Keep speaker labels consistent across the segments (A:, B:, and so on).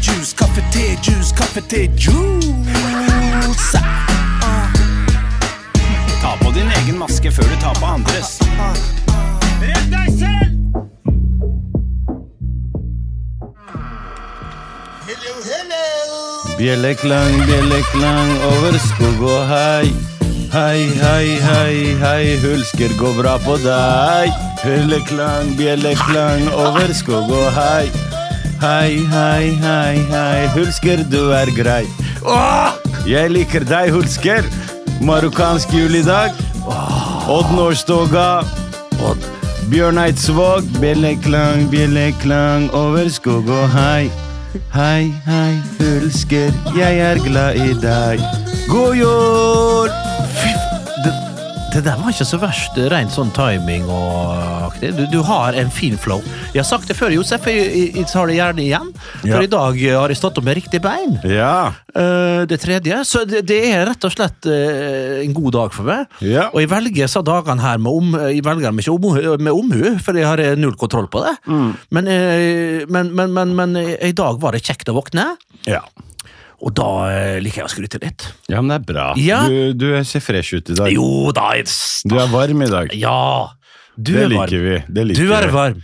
A: juice, kaffe, te, juice, kaffe, te, juice.
B: Ta på din egen maske før du tar på andres. Redd deg selv!
C: Bjelleklang, bjelleklang over skog og hei. Hei, hei, hei, hei, hulsker går bra på deg. Bjelleklang, bjelleklang over skog og hei. Hei, hei, hei, hei, hulsker du er grei. Åh! Jeg liker deg, hulsker. Marokkansk jul i dag. Odd Nordstoga. Odd. Bjørn Eidsvåg. Bjelleklang, bjelleklang over skog og hei. Hei, hei, hulsker, jeg er glad i deg. God jul!
D: Det der var ikke så verst, rent sånn timing og aktig. Du, du har en fin flow. Jeg har sagt det før, Josef, jeg, jeg, jeg tar det gjerne igjen. For
C: Ja.
D: i dag eh, har jeg stått opp med riktig bein.
C: Ja.
D: Eh, det tredje. Så det, det er rett og slett eh, en god dag for meg.
C: Ja.
D: Og jeg velger så dagene her med om, jeg velger dem ikke om, med omhu, for jeg har eh, null kontroll på det.
C: Mm.
D: Men, eh, men, men, men, men eh, i dag var det kjekt å våkne,
C: Ja,
D: og da eh, liker jeg å skryte litt.
C: men det er bra.
D: Ja.
C: Du, du ser fresh ut i dag.
D: Jo da, jeg-
C: Du er varm i dag.
D: ja. Du
C: Det
D: er varm.
C: liker vi. Det liker
D: Du er
C: vi.
D: varm.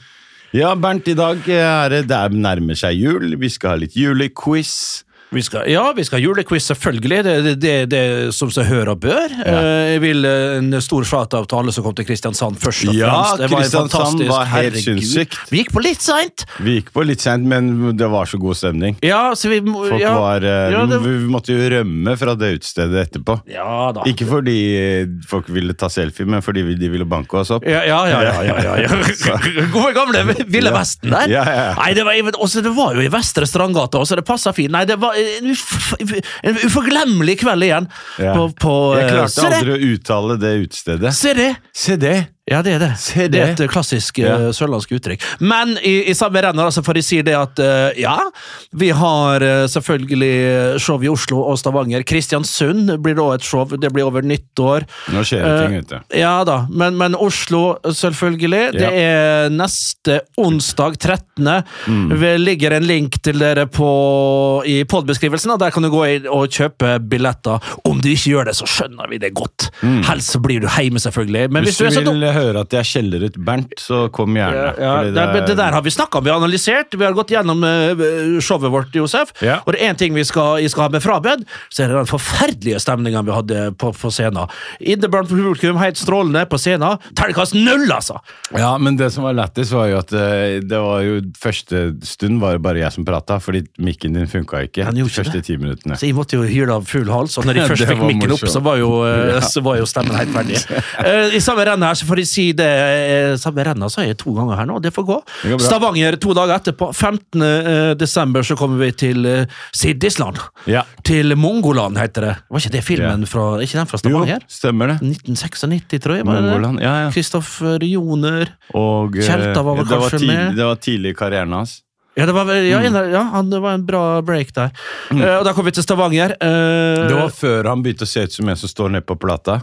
C: Ja, Bernt, i dag er det, det er- nærmer seg jul. Vi skal ha litt julequiz.
D: Vi skal, ja, vi skal ha julequiz, selvfølgelig. Det er det, det, det som seg hør og bør. Eh, Jeg vil eh, en stor shout-out til alle som kom til Kristiansand, først og
C: Ja,
D: fremst. en
C: Kristiansand
D: fantastisk-
C: var helt
D: herregud.
C: sinnssykt.
D: Vi gikk på litt seint!
C: Vi gikk på litt sent, men det var så god stemning.
D: Ja, så vi må
C: Folk
D: ja,
C: var, eh,
D: ja, det,
C: vi, vi måtte jo rømme fra det utestedet etterpå.
D: ja da.
C: Ikke fordi eh, folk ville ta selfie, men fordi vi- de ville banke oss opp.
D: Ja, ja, ja. ja, ja, ja. Gode gamle Ville Vesten der.
C: Ja, ja.
D: Nei, det var, jeg vet- også, det var jo i Vestre Strandgata, så det passa fint. Nei, det var en, uff, en uforglemmelig kveld igjen.
C: Ja.
D: På, på,
C: Jeg
D: eh,
C: klarte
D: se det!
C: aldri å uttale det utestedet.
D: Se det!
C: Se det!
D: Ja, det er det.
C: Se
D: Det
C: det.
D: er et eh, klassisk
C: Ja.
D: eh, sørlandsk uttrykk. Men i, i samme renner altså, får jeg si det at eh, ja, vi har eh, selvfølgelig eh, show i Oslo og Stavanger. Kristiansund blir da et show, det blir over nyttår.
C: Nå skjer det ting ute.
D: Eh, Ja da, men, men Oslo selvfølgelig. Det er neste onsdag 13.
C: Mm.
D: Det ligger en link til dere på, i podbeskrivelsen, og der kan du gå inn og kjøpe billetter. Om du ikke gjør det, så skjønner vi det godt. Helst så blir du hjemme, selvfølgelig. Men
C: Mm.
D: hvis,
C: Hvis du
D: er så dum
C: vil høre at jeg skjeller ut Bernt, så kom gjerne.
D: ja,
C: fordi
D: det, det, der har vi snakka om, vi har analysert, vi har gått gjennom eh, showet vårt, Josef.
C: Ja.
D: Og det er én ting vi skal, jeg skal ha med frabed, så er det den forferdelige stemninga vi hadde på, på scenen. Inneblant publikum, helt strålende på scenen. Terningkast null, altså!
C: Ja, men det som var lættis, var jo at eh, det var jo første stund var det bare jeg som prata, fordi mikken din funka ikke.
D: Han
C: de
D: gjorde ikke
C: første
D: det.
C: ti minuttene.
D: Så jeg måtte jo hyle av full hals, og når jeg først
C: Det
D: fikk
C: var
D: mikken opp,
C: morsomt.
D: så var jo, eh, så var jo stemmen helt ferdig. Eh, I samme rennet her, så får jeg si det eh, Samme rennet så er jeg to ganger her nå, det får gå.
C: Det går bra.
D: Stavanger to dager etterpå. 15. eh, desember så kommer vi til eh, Siddisland.
C: Ja.
D: Til Mongoland, heter det. Var ikke det filmen fra Er ikke den fra
C: Jo,
D: Stavanger?
C: stemmer det.
D: 1996, tror jeg. var det det?
C: Mongoland. Ja, ja.
D: Kristoffer Joner
C: Og eh,
D: Kjelta var vel
C: det, var
D: kanskje
C: tidlig,
D: med?
C: det var tidlig i karrieren hans.
D: Ja, det var, vel-
C: Mm.
D: ja, en, ja han, det var en bra break der. Eh, og da kom vi til Stavanger. eh,
C: Det var før han begynte å se ut som en som står nede på plata.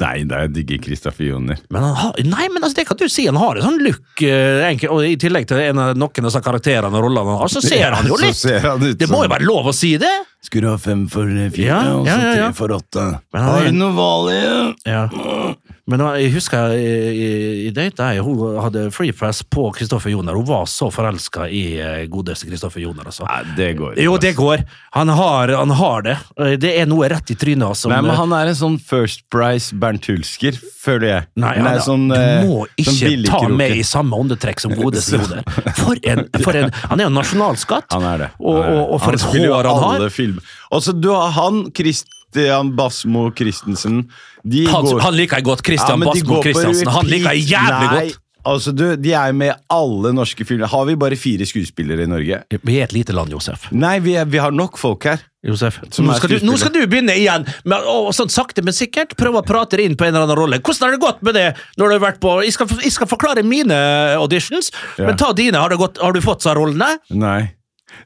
C: Nei, det er jeg digger Kristoffer Joner.
D: Men han har, nei, men altså, det kan du si. Han har en sånn look, eh, enkel, og i tillegg til en av noen av disse karakterene og rollene han har, så ser han jo
C: Så
D: litt.
C: ser han ut
D: Det må
C: som-
D: jo være lov å si det.
C: Skulle ha fem for fire,
D: Ja,
C: og så
D: ja, ja, ja.
C: tre for åtte.
D: Men han er-
C: Har du noe vanlig?
D: Ja. Men da, jeg husker i, i, i date der, hun hadde free press på Kristoffer Joner. Hun var så forelska i eh, godeste Kristoffer Joner, altså.
C: Nei, det går
D: Jo, det
C: ass.
D: går. Han har, han har det. Eh, Det er noe rett i trynet. Altså.
C: Nei, men han er en sånn First Price Bernt Hulsker, føler jeg.
D: Nei,
C: Han er
D: han-
C: sånn, eh,
D: du må
C: sånn
D: ikke ta
C: billigkroken.
D: med i samme åndetrekk som godeste Joner. For en, for en, han er jo en nasjonalskatt.
C: Han er det.
D: Og,
C: Han er det.
D: og, og for et
C: spiller jo
D: hår han har.
C: alle film- Og så du har han, Christian Basmo Christensen. De
D: Han,
C: går,
D: han liker jeg godt. Christian
C: men de
D: Basmo
C: går på
D: Christiansen. Han
C: repeat.
D: liker jeg jævlig
C: Nei,
D: godt.
C: Altså, du, De er med i alle norske filmer. Har vi bare fire skuespillere i Norge?
D: Vi er et lite land, Josef.
C: Nei, vi, er, vi har nok folk her.
D: Josef,
C: Som
D: nå
C: er
D: skal, du, nå skal du begynne igjen, med, å, sånn sakte, men sikkert. Prøve å prate deg inn på en eller annen rolle. Hvordan har det gått med det? når du har vært på... Jeg skal, jeg skal forklare mine auditions,
C: Ja.
D: men ta dine. Har, det gått, har du fått seg rollene?
C: Nei.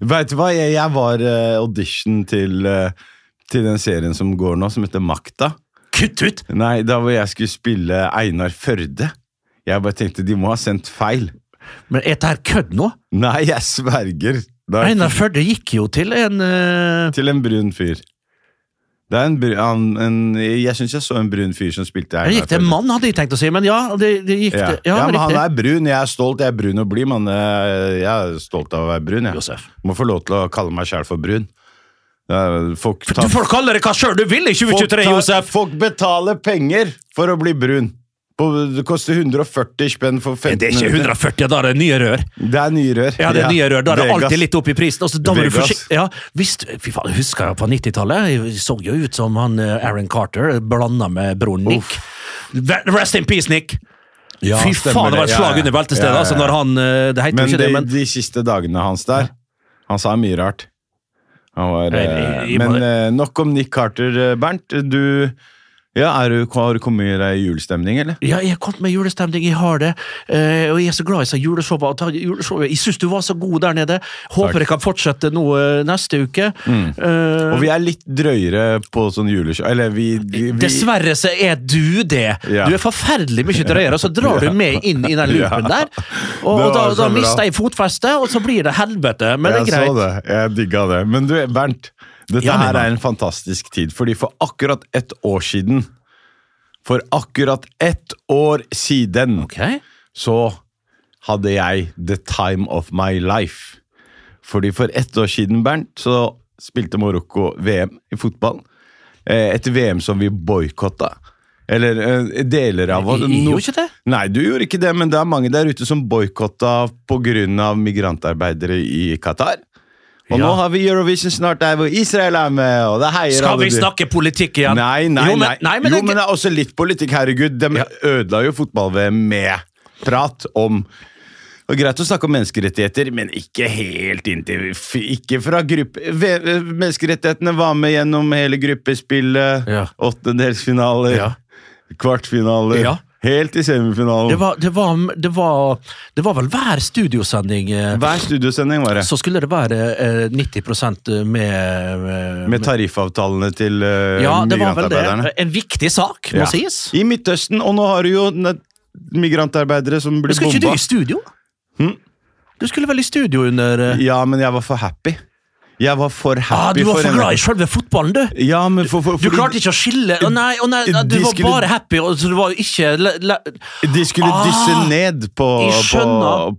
C: Veit du hva, jeg, jeg var eh, audition til, eh, til den serien som går nå, som heter Makta.
D: Kutt ut!
C: Nei, da hvor jeg skulle spille Einar Førde. Jeg bare tenkte de må ha sendt feil.
D: Men er dette her kødd nå?
C: Nei, jeg sverger. Det er
D: Einar Førde gikk jo til en eh,
C: til en brun fyr. Det er en brun, han, en, jeg syns jeg så en brun fyr som spilte her.
D: Jeg gikk til en mann, hadde jeg tenkt å si, men ja, det, det gikk
C: Ja.
D: til
C: ja, men han
D: riktig.
C: er brun. Jeg er stolt. Jeg er brun og blid, men eh, jeg er stolt av å være brun. Jeg.
D: Josef.
C: Må få lov til å kalle meg sjæl for brun. Det er- Folk,
D: Du
C: tar-
D: får kalle det hva sjøl du vil i
C: folk,
D: 2023,
C: tar-
D: Josef!
C: folk betaler penger for å bli brun. På, det koster 140 spenn for 15
D: Det er ikke 140, da er det nye rør.
C: Det er nye rør.
D: Ja, det er nye rør. Da er det
C: Vegas.
D: alltid litt opp i prisen. Og så da var du
C: Vegas.
D: forsiktig. Ja, visst, fy faen, jeg husker jeg på 90-tallet. Jeg så jo ut som han eh, Aaron Carter blanda med broren Nick. Ve- Rest in peace, Nick!
C: Ja,
D: fy
C: stemmer
D: faen, det var et
C: Ja,
D: slag
C: ja.
D: under beltestedet.
C: Ja, ja,
D: Altså,
C: ja.
D: når han eh, Det heter
C: Men
D: jo ikke
C: de,
D: det, men
C: de siste dagene hans der Han sa mye rart. Han var,
D: Nei,
C: eh,
D: jeg- jeg
C: men
D: bare-
C: eh, nok om Nick Carter, eh, Bernt. Du, ja, er du, har du kommet deg i julestemning, eller?
D: Ja, jeg har kommet med julestemning, jeg har det. Eh, og jeg er så glad i seg juleshowet. at jeg- juleshowet- Jeg syns du var så god der nede. Håper
C: Takk. Mm.
D: jeg kan fortsette nå eh, neste uke. Eh,
C: Og vi er litt drøyere på sånn juleshow. Eller vi, vi, vi
D: Dessverre så er du det.
C: Ja.
D: Du er forferdelig mye drøyere, og så drar du med inn i den loopen
C: Ja.
D: der. Og,
C: Det
D: og da,
C: var så
D: da
C: bra.
D: mister jeg fotfestet, og så blir det helvete. Men det
C: Jeg
D: er greit.
C: så det. Jeg digga det. Men du, Bernt. Dette
D: Ja, men
C: her
D: Bernt.
C: er en fantastisk tid, fordi for akkurat ett år siden For akkurat ett år siden
D: Ok.
C: så hadde jeg the time of my life. Fordi for ett år siden, Bernt, så spilte Marokko VM i fotball. Eh, Et VM som vi boikotta. Eller eh, deler av oss.
D: Vi- vi
C: No-
D: gjorde ikke det.
C: Nei, du gjorde ikke det, men det er mange der ute som boikotta pga. migrantarbeidere i Qatar. Og
D: Ja.
C: nå har vi Eurovision snart der hvor Israel er med, og det heier
D: Skal
C: alle
D: vi
C: de-
D: snakke politikk igjen?
C: Nei, nei,
D: jo, men,
C: nei.
D: nei, men
C: jo,
D: det-
C: men det er også litt politikk, herregud. De ødela jo fotball-VM med prat om det er greit å snakke om menneskerettigheter, men ikke helt inntil f- Ikke fra gruppe... V- Menneskerettighetene var med gjennom hele gruppespillet.
D: Ja.
C: Åttendelsfinaler,
D: Ja.
C: kvartfinaler,
D: Ja.
C: helt til semifinalen.
D: det, var, det, var, det, var, det var vel hver studiosending eh,
C: Hver studiosending var det.
D: så skulle det være eh, 90 med, med,
C: Med tariffavtalene til eh,
D: Ja, det var vel det.
C: migrantarbeiderne.
D: En viktig sak, må
C: Ja.
D: sies.
C: I Midtøsten, og nå har du jo ne- migrantarbeidere som
D: Men
C: blir
D: skulle ikke du
C: bomba. Hm?
D: i studio? Du skulle vel i studio under eh,
C: Ja, men jeg var for happy. Jeg var for
D: ah,
C: happy
D: Du var for
C: en-
D: glad i selve fotballen, du!
C: Ja, men for, for,
D: Du
C: fordi
D: klarte ikke å skille Å nei, å nei, nei, du
C: de
D: var
C: skulle-
D: bare happy, og så du var jo ikke le, le,
C: De skulle
D: Ah,
C: dysse ned på
D: jeg skjønner.
C: på,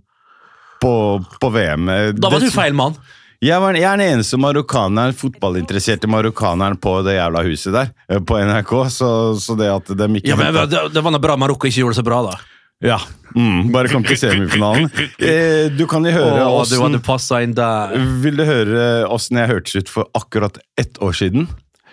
C: på, på VM.
D: Da var du
C: Det-
D: feil mann.
C: Jeg, var, jeg er den eneste marokkaneren, fotballinteresserte marokkaneren på det jævla huset der. eh, På NRK, så, så det at dem ikke
D: Ja, men
C: hentet-
D: Det, det var noe bra Marokko ikke gjorde det så bra, da.
C: ja. Mm, bare kom til semifinalen. Eh, du kan jo høre
D: Å, du
C: åssen
D: hadde passa inn der.
C: Vil du høre åssen jeg hørtes ut for akkurat ett år siden?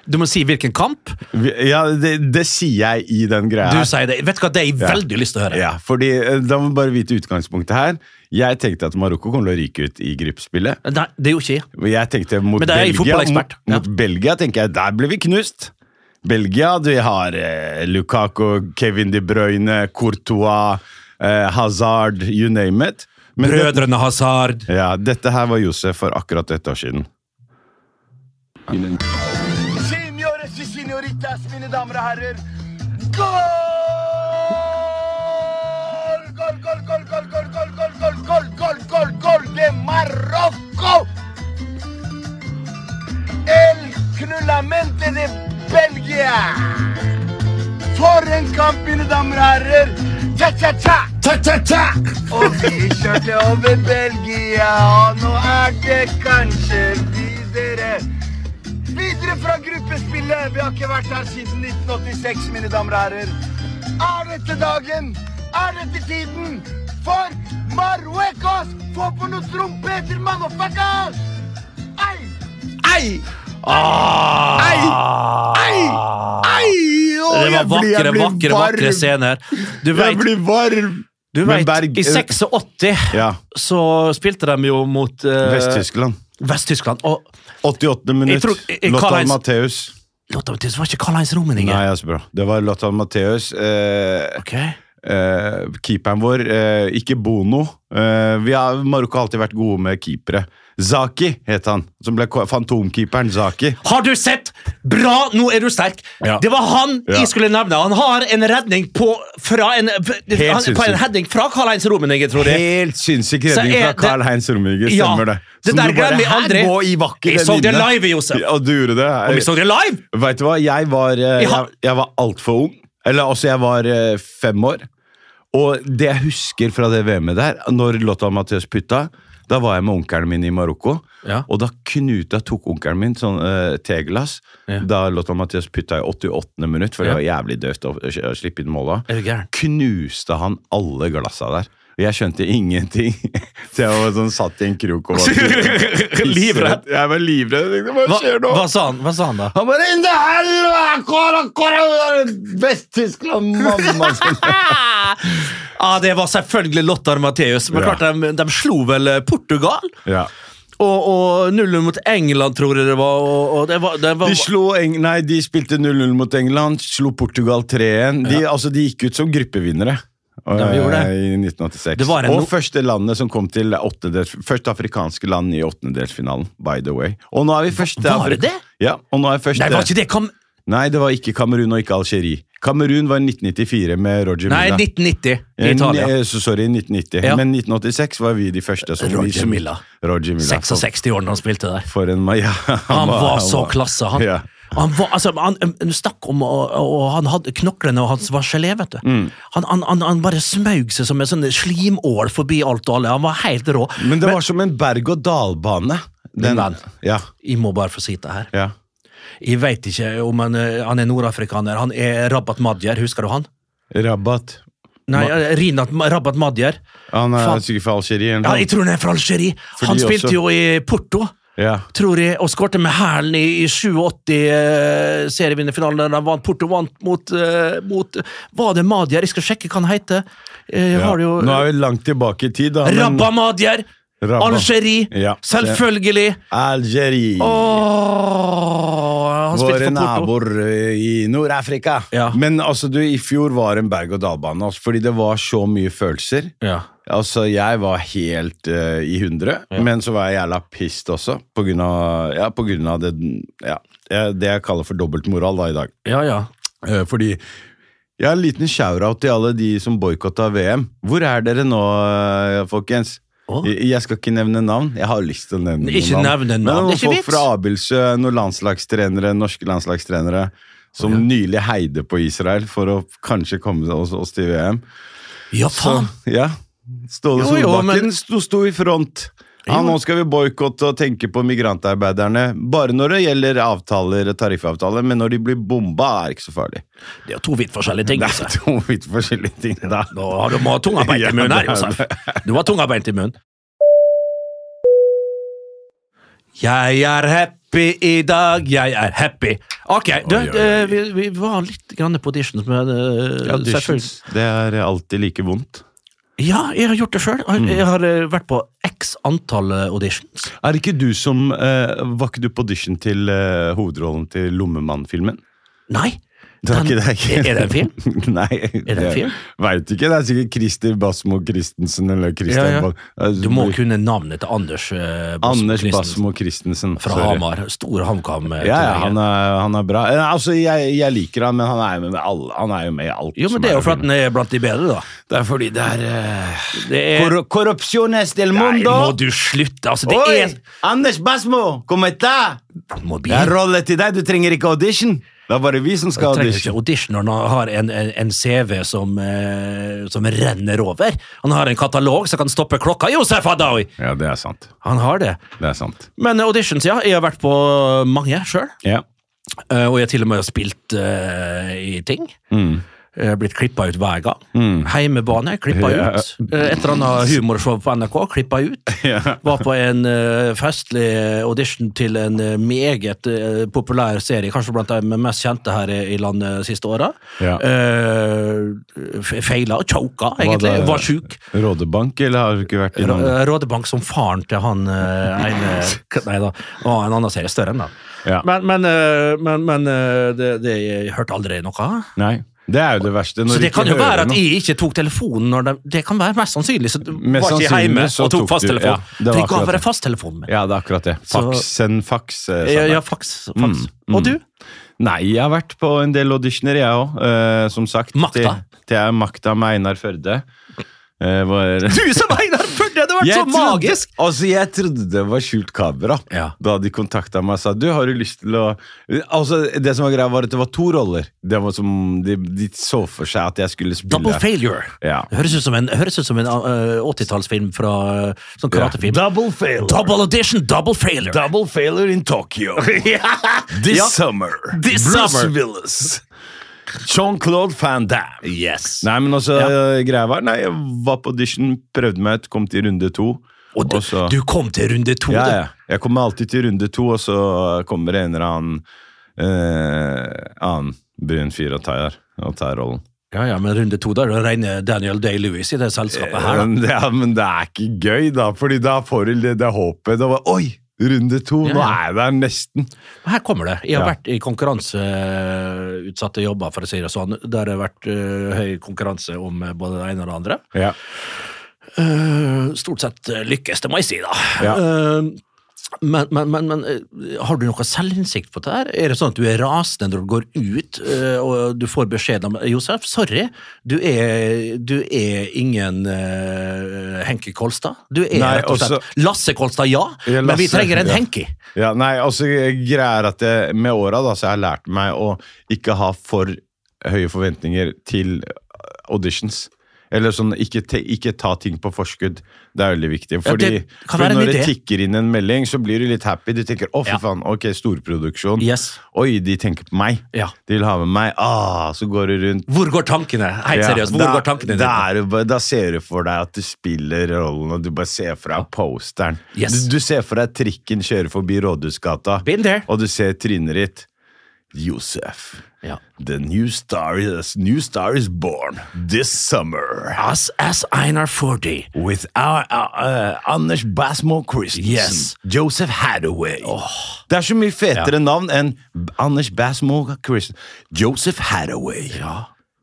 D: Du må si hvilken kamp.
C: Vi- Ja, det, det sier jeg i den greia.
D: Du
C: her.
D: sier det. Vet du hva, det har jeg
C: Ja.
D: veldig lyst til å høre.
C: Ja, fordi eh, Da må vi bare vite utgangspunktet her. Jeg tenkte at Marokko kom til å ryke ut i gruppespillet.
D: Nei, det er jo ikke jeg.
C: Og Jeg tenkte mot
D: Men det er jeg
C: Belgia,
D: fotballekspert.
C: mot, mot Belgia tenker jeg, der ble vi knust. Belgia, du har eh, Lukaku, Kevin De Bruyne, Courtois, eh, Hazard, you name it. Men det-
D: Brødrene Hazard.
C: ja, dette her var Josef for akkurat ett år siden.
A: Senores y señoritas, mine damer og herrer. Gol! Gol, gol, gol, gol, gol, gol, gol, gol, gol, gol, gol, gol de Marocco! El knullamente de Belgia! For en kamp, mine damer og herrer! Cha-cha-cha! Og vi kjørte over Belgia, og nå er det kanskje videre. Videre fra gruppespillet. Vi har ikke vært her siden 1986, mine damer og herrer. Er dette dagen? Er dette tiden? For Marruecos! Få på noen trompeter, motherfuckers! Ei!
C: Ei! Ei!
D: Det var vakre, vakre, vakre scener. Du
C: Jeg
D: vet,
C: blir varm!
D: du
C: Men
D: vet
C: Berg-
D: i 86
C: Ja.
D: så spilte de jo mot eh,
C: Vest-Tyskland.
D: Vest-Tyskland. Og
C: 88. minutt.
D: Jeg tror- jeg- jeg-
C: Lothar
D: Karl-Heinz-
C: Matheus.
D: Lottavitis var ikke Karl-Heinz Rummeninger.
C: Nei, altså bra. Det var Lothar Matheus. Eh,
D: Ok.
C: eh, keeperen vår, eh, ikke Bono. Eh, vi har, Marokko har alltid vært gode med keepere. Zaki het han, som ble ko- fantomkeeperen Zaki.
D: Har du sett Bra! Nå er du sterk!
C: Ja.
D: Det var han
C: Ja.
D: jeg skulle nevne. Han har en redning på fra en, han, på
C: sinnssykt.
D: en heading fra Karl-Heinz Rummenigge, tror jeg.
C: Helt sinnssyk
D: Så
C: redning
D: er
C: fra
D: det-
C: Carl Heinz Rummenigge.
D: Ja,
C: Stemmer det.
D: det
C: Som
D: der
C: du bare,
D: glemmer jeg
C: "Her
D: aldri."
C: Må i vakker
D: Jeg så det
C: venninne."
D: live, Josef.
C: Ja, og du gjorde det.
D: Og vi så det live!
C: Vet du hva, jeg var,
D: Ja.
C: eh, jeg, jeg var altfor ung. Eller altså, jeg var eh, fem år. Og det jeg husker fra det VM-et der, når Lotta Mathias putta Da var jeg med onkelen min i Marokko,
D: Ja.
C: og da Knuta tok onkelen min sånn eh, teglass
D: Ja.
C: da Lotta Mathias putta i 88. minutt, for det
D: Ja.
C: var jævlig døvt å, å slippe inn måla.
D: Er du gæren?
C: Knuste han alle glassa der. Og jeg skjønte ingenting. Så jeg var sånn satt i en krok og var
D: Livredd.
C: Jeg var livredd. Jeg tenkte, Hva
D: Hva,
C: skjer nå?
D: hva, sa han, hva sa han da?
C: Han bare In the helvete! Kåre, Kåre, Vest-Tyskland, mamma!
D: Ah, det var selvfølgelig Lothar Matthäus. Men
C: Ja.
D: klart, de, de slo vel eh, Portugal.
C: ja.
D: Og, og null mot England, tror jeg det var. Og, og det var, det var
C: De slo Eng Nei, de spilte 0-0 mot England, slo Portugal 3-1. De, altså, de gikk ut som gruppevinnere.
D: Ja, vi gjorde det.
C: eh, I 1986.
D: Det var en
C: og
D: no-
C: første landet som kom til åttendels Første afrikanske land i åttendedelsfinalen, by the way. Og nå er vi første
D: Var det
C: Afri-
D: det?
C: Ja, og nå er vi første
D: Nei, var ikke det kom...
C: Nei, det var ikke Kamerun og ikke Algerie. Kamerun var i 1994 med Roger
D: Nei,
C: Milla.
D: 1990
C: Eh,
D: i Italia.
C: ne- eh, så sorry, 1990.
D: Ja.
C: Men 1986 var vi de første som
D: Roger
C: vi som-
D: Milla.
C: Roger Milla.
D: 66 år da han spilte der.
C: For en ma- ja,
D: Han var så klasse, han.
C: Ja.
D: Han var, altså, han, han snakk om og, og han hadde knoklene og hans var gelé, vet du. Han, han, han, han bare smaug seg som en sånn slimål forbi alt og alle. Han var helt rå.
C: Men det var som en berg-og-dal-bane. Den,
D: venn.
C: ja,
D: Jeg må bare få si det her.
C: ja.
D: Jeg veit ikke om han, eh, han er nordafrikaner. Han er Rabat Madjer, husker du han?
C: Rabat.
D: Nei, eh, Rinat Rabat Madjer.
C: Han er
D: Faen.
C: sikkert fra Algerie. eller
D: Ja,
C: noe.
D: jeg tror han er fra Algerie.
C: Fordi
D: Han spilte
C: også-
D: jo i Porto.
C: Ja.
D: tror jeg, og skårte med hælen i, i 87-serievinnerfinalen. der de vant Porto vant mot, eh, mot Var det Madjer? Jeg skal sjekke hva han heter. Eh, jeg
C: Ja.
D: har det jo,
C: Nå er vi langt tilbake i tid, da. men-
D: Rabba Madjer!
C: Rabba.
D: Algerie!
C: Ja.
D: Selvfølgelig!
C: Algerie.
D: Åh, han
C: Våre
D: spilte for Porto.
C: naboer eh, i Nord-Afrika.
D: Ja.
C: Men altså, du, i fjor var en berg-og-dal-bane, altså, fordi det var så mye følelser.
D: Ja.
C: Altså, jeg var helt eh, i hundre, men så var jeg jævla pissed også, på grunn av, ja, på grunn av det, ja, eh, det jeg kaller for dobbeltmoral da i dag.
D: ja, ja.
C: Eh, fordi jeg har en liten shout-out til alle de som boikotta VM. Hvor er dere nå, eh, folkens?
D: Åh.
C: Jeg, jeg skal ikke nevne navn. Jeg har lyst til å nevne
D: Ikke
C: noen
D: nevne navn.
C: Men
D: Det er
C: noen
D: ikke
C: folk
D: vits.
C: fra Abildsø, noen landslagstrenere, norske landslagstrenere, som nylig heide på Israel for å kanskje komme oss, oss til VM.
D: Ja, faen!
C: Ja. Ståle
D: Jo, jo,
C: Solbakken
D: men-
C: sto, sto i front. Ja, nå skal vi boikotte og tenke på migrantarbeiderne. Bare når det gjelder avtaler, tariffavtaler, men når de blir bomba, er det ikke så farlig.
D: Det er jo to vidt forskjellige ting.
C: Det
D: altså.
C: er to vidt forskjellige ting. Da.
D: Nå har du må ha tunga beint i munnen her,
C: Ja, det altså. er
D: Josef. Du har tunga beint i munnen. Jeg er happy i dag, jeg er happy. Ok, du,
C: Oi, oi, oi.
D: eh, Vi, vi var litt grann på auditions, men eh, selvfølgelig
C: Det er alltid like vondt.
D: Ja, jeg har gjort det sjøl.
C: Mm.
D: Jeg har eh, vært på x antall eh, auditions.
C: Er ikke du som eh, Var ikke du på audition til eh, hovedrollen til Lommemann-filmen?
D: Nei.
C: Det var ikke- det ikke-
D: Er det en film?
C: Nei.
D: Er det en film?
C: Veit ikke. Det er sikkert Christer Basmo Christensen eller Christian
D: Ja, ja.
C: Ba-
D: Du må kunne navnet til Anders eh, Basmo
C: Anders
D: Christensen
C: Basmo Christensen.
D: Fra
C: Sorry.
D: Hamar. Stor HamKam. eh,
C: Ja, ja
D: tilhenger.
C: han, er, han er bra. Eh, Altså, jeg, jeg liker han, men han er jo med, med alle, han er jo med i alt.
D: Jo,
C: som
D: men Det er jo
C: å
D: for at
C: finne.
D: den er blant de bedre, da.
C: Det er fordi det er eh,
D: Det er
C: Corru- Corrupciones del
D: Nei,
C: mundo!
D: må du slutte! Altså, det
C: Oi!
D: er
C: Anders Basmo, kom etter!
D: Mobil.
C: Jeg har rolle til deg, du trenger ikke audition. Det er bare vi som skal
D: trenger ikke
C: audition.
D: audition når han har en, en, en CV som, eh, som renner over. Han har en katalog som kan stoppe klokka. Josef Adawi!
C: Ja, det er sant.
D: Han har det.
C: Det er sant.
D: Men auditions, ja. Jeg har vært på mange sjøl.
C: Ja.
D: Og jeg har til og med spilt eh, i ting.
C: Mm.
D: Jeg har Blitt klippa ut hver gang. Heimebane, klippa
C: Ja.
D: ut. Eh, Et eller annet humorshow på NRK, klippa ut. Var på en eh, festlig audition til en eh, meget eh, populær serie, kanskje blant de mest kjente her i, i landet siste åra.
C: Ja.
D: feila og choka, egentlig.
C: det-
D: Var sjuk.
C: Rådebank, eller har du ikke vært
D: Rå- eh.
C: innom det?
D: Rådebank som faren til han eh, ene Nei da, og en annen serie større enn den.
C: Ja.
D: Men, men, eh, men, men eh, det, det, jeg hørte aldri noe.
C: Nei. Det er jo det verste. Når
D: Så det
C: du ikke
D: kan jo
C: hører
D: være at
C: noe.
D: jeg ikke tok telefonen når de, Det kan være mest sannsynlig. Så
C: Mest
D: var ikke jeg
C: sannsynlig
D: hjemme
C: så
D: og
C: tok
D: tok
C: du- ja,
D: fasttelefonen.
C: det var
D: For jeg ga
C: akkurat
D: bare
C: det.
D: fasttelefonen min.
C: Ja, det er akkurat det.
D: Så-
C: Faks, send faks. eh, sa
D: Ja,
C: han.
D: ja, faks.
C: Mm,
D: faks. Og du?
C: Nei, jeg har vært på en del auditioner, jeg òg. som sagt.
D: Makta.
C: Til, til jeg er makta med Einar Førde. Eh, var...
D: Du som Einar Førde! Det hadde vært
C: Jeg
D: så
C: trodde-
D: magisk!
C: Altså, jeg trodde det var skjult kamera.
D: Ja.
C: Da de kontakta meg og sa du, har du lyst til å Altså, Det som var greia, var at det var to roller. Det var som, de, de så for seg at jeg skulle spille
D: Double failure.
C: Ja.
D: Det Høres ut som en, høres ut som en øh, 80-tallsfilm fra øh, sånn karatefilm.
A: Double fail.
D: Double audition, double failure.
A: Double failure in Tokyo. This summer.
D: This
A: Bruce
D: summer.
A: Willis.
C: Jean-Claude Van Damme.
D: Yes.
C: Nei, men altså, greia var Nei, jeg var på audition, prøvde meg ut, kom til runde to.
D: og du,
C: og så-
D: du kom til runde to.
C: Ja,
D: du.
C: ja. Jeg kommer alltid til runde to, og så kommer det en eller annen eh, annen brun fyr og tar, og tar rollen.
D: ja, ja, men runde to, da er det rene Daniel Day-Lewis i det selskapet her. da.
C: Men, det- ja, men det er ikke gøy, da, fordi da får du det, det håpet. Det var, Oi! Runde to,
D: Ja,
C: nå
D: ja.
C: er jeg der nesten.
D: Her kommer det. Jeg har
C: Ja.
D: vært i konkurranseutsatte jobber, for å si det sånn. Der det har vært øh, høy konkurranse om øh, både det ene og det andre.
C: Ja.
D: Eh, stort sett eh, lykkes, det må jeg si, da.
C: Ja.
D: Eh, men, men, men, men eh, har du noe selvinnsikt på det her? Er det sånn at du er rasende når du går ut eh, og du får beskjed om Josef, sorry, du er, du er ingen eh, Henki Kolstad. Du er
C: Nei,
D: rett og slett
C: også-
D: Lasse Kolstad, ja,
C: Ja,
D: men vi
C: Lasse,
D: trenger en
C: ja.
D: Henki.
C: Ja, nei, altså greier at jeg, Med åra da, så har jeg lært meg å ikke ha for høye forventninger til auditions. Eller sånn, ikke, te, ikke ta ting på forskudd. Det er veldig viktig.
D: Ja,
C: Fordi,
D: det kan
C: fordi
D: være en
C: når det
D: idé.
C: tikker inn en melding, så blir du litt happy. Du tenker 'å, fy
D: Ja.
C: faen, ok, storproduksjon'.
D: Yes.
C: Oi, de tenker på meg.
D: Ja.
C: De vil ha med meg. Ah, så går du rundt
D: Hvor går tankene? Helt
C: Ja,
D: seriøst, hvor
C: da-
D: går tankene
C: Da,
D: dine?
C: er det bare- da ser du for deg at du spiller rollen, og du bare ser for deg posteren.
D: Yes.
C: Du, du ser for deg trikken kjøre forbi Rådhusgata,
D: Been there.
C: og du ser trynet ditt. Josef.
D: Ja.
C: The new star, is, new star is born this summer.
D: Us as Einar Fordi.
C: With our, uh, uh, Anders Basmo Christensen.
D: Yes.
C: Joseph Hathaway. Det er så mye fetere navn enn B- Anders Basmo Christensen. Joseph Hathaway.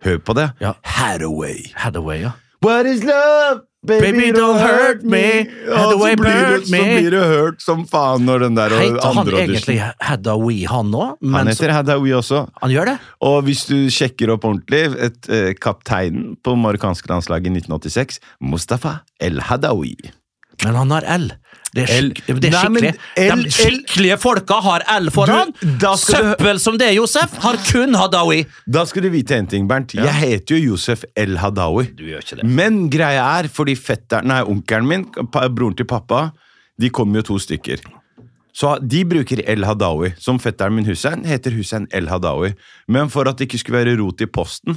C: Hør på det.
D: Ja.
C: Hathaway.
D: Hathaway, ja.
C: What is love? Baby,
D: don't hurt me.
C: Ja,
D: The
C: så,
D: way
C: blir
D: hurt
C: du, så
D: me.
C: blir du hørt som faen når den der og
D: Heter han
C: andre
D: egentlig
C: audition.
D: Hathaway, han òg?
C: Han heter Hadawi også.
D: Han gjør det?
C: Og hvis du sjekker opp ordentlig, et, eh, kapteinen på marokkanske landslaget i 1986, Mustafa El Hadawi.
D: Men han har L. Det er, skik
C: L.
D: det er
C: Nei, men
D: skikkelig.
C: L-
D: De skikkelige folka har L foran.
C: Du, da skal
D: Søppel som det, Josef, har kun Hadawi.
C: Da skal du vite en ting, Bernt. Jeg heter jo Josef El Hadawi.
D: Du gjør ikke det.
C: Men greia er, fordi fetteren, nei, onkelen min, pa, broren til pappa, de kommer jo to stykker. Så de bruker El Hadawi, som fetteren min Hussein heter Hussein El Hadawi. Men for at det ikke skulle være rot i posten,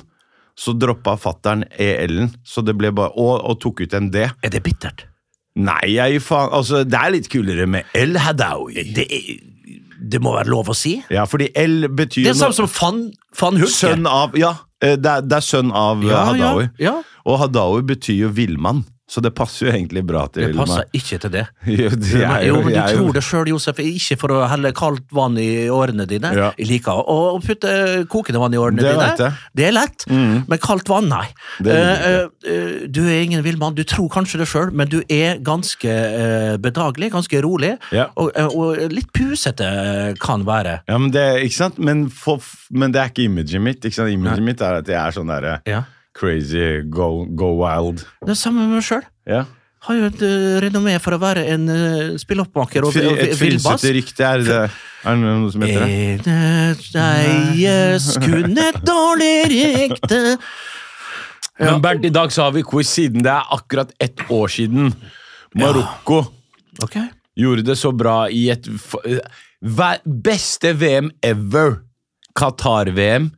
C: så droppa fattern EL-en, så det ble bare, og, og tok ut en D.
D: Er det bittert?
C: Nei, jeg faen, altså, det er litt kulere med El Hadawi.
D: Det, er, det må være lov å si.
C: Ja, fordi El betyr
D: Det er
C: noe-
D: samme som van, van Hulke.
C: Sønn av, ja, eh, det er, det er sønn av eh,
D: ja,
C: Hadawi.
D: Ja, ja.
C: Og Hadawi betyr jo villmann, så det passer jo egentlig bra til
D: Det
C: villmann.
D: passer ikke til det.
C: Jo, det
D: Men,
C: er
D: jo, men du
C: jeg er
D: tror det sjøl, Josef. Ikke for å helle kaldt vann i årene dine.
C: Ja.
D: Jeg liker å å putte eh, kokende vann i årene
C: Det vet
D: dine.
C: jeg.
D: Det er lett. Men kaldt vann, nei.
C: Mm. Det liker
D: Eh, eh, du er ingen villmann. Du tror kanskje det sjøl, men du er ganske eh, bedagelig, ganske rolig.
C: Ja.
D: Og, eh, og litt pusete eh, kan være.
C: Ja, men det, ikke sant? Men, for, men det er ikke imaget mitt. Ikke sant? Imaget mitt er at jeg er sånn derre crazy, go, go wild.
D: Det er samme med meg sjøl.
C: Ja.
D: Har jo et eh, renommé for å være en uh, spilloppmaker og,
C: Fri,
D: og,
C: et
D: villbass.
C: frilsete rykte er det Er det noe som heter det?
D: Eies kun et dårlig rykte Eh,
C: Men Bernt, i dag så har vi quiz siden det er akkurat ett år siden Marokko
D: Ok.
C: gjorde det så bra i et f- hver- Beste VM ever! Qatar-VM.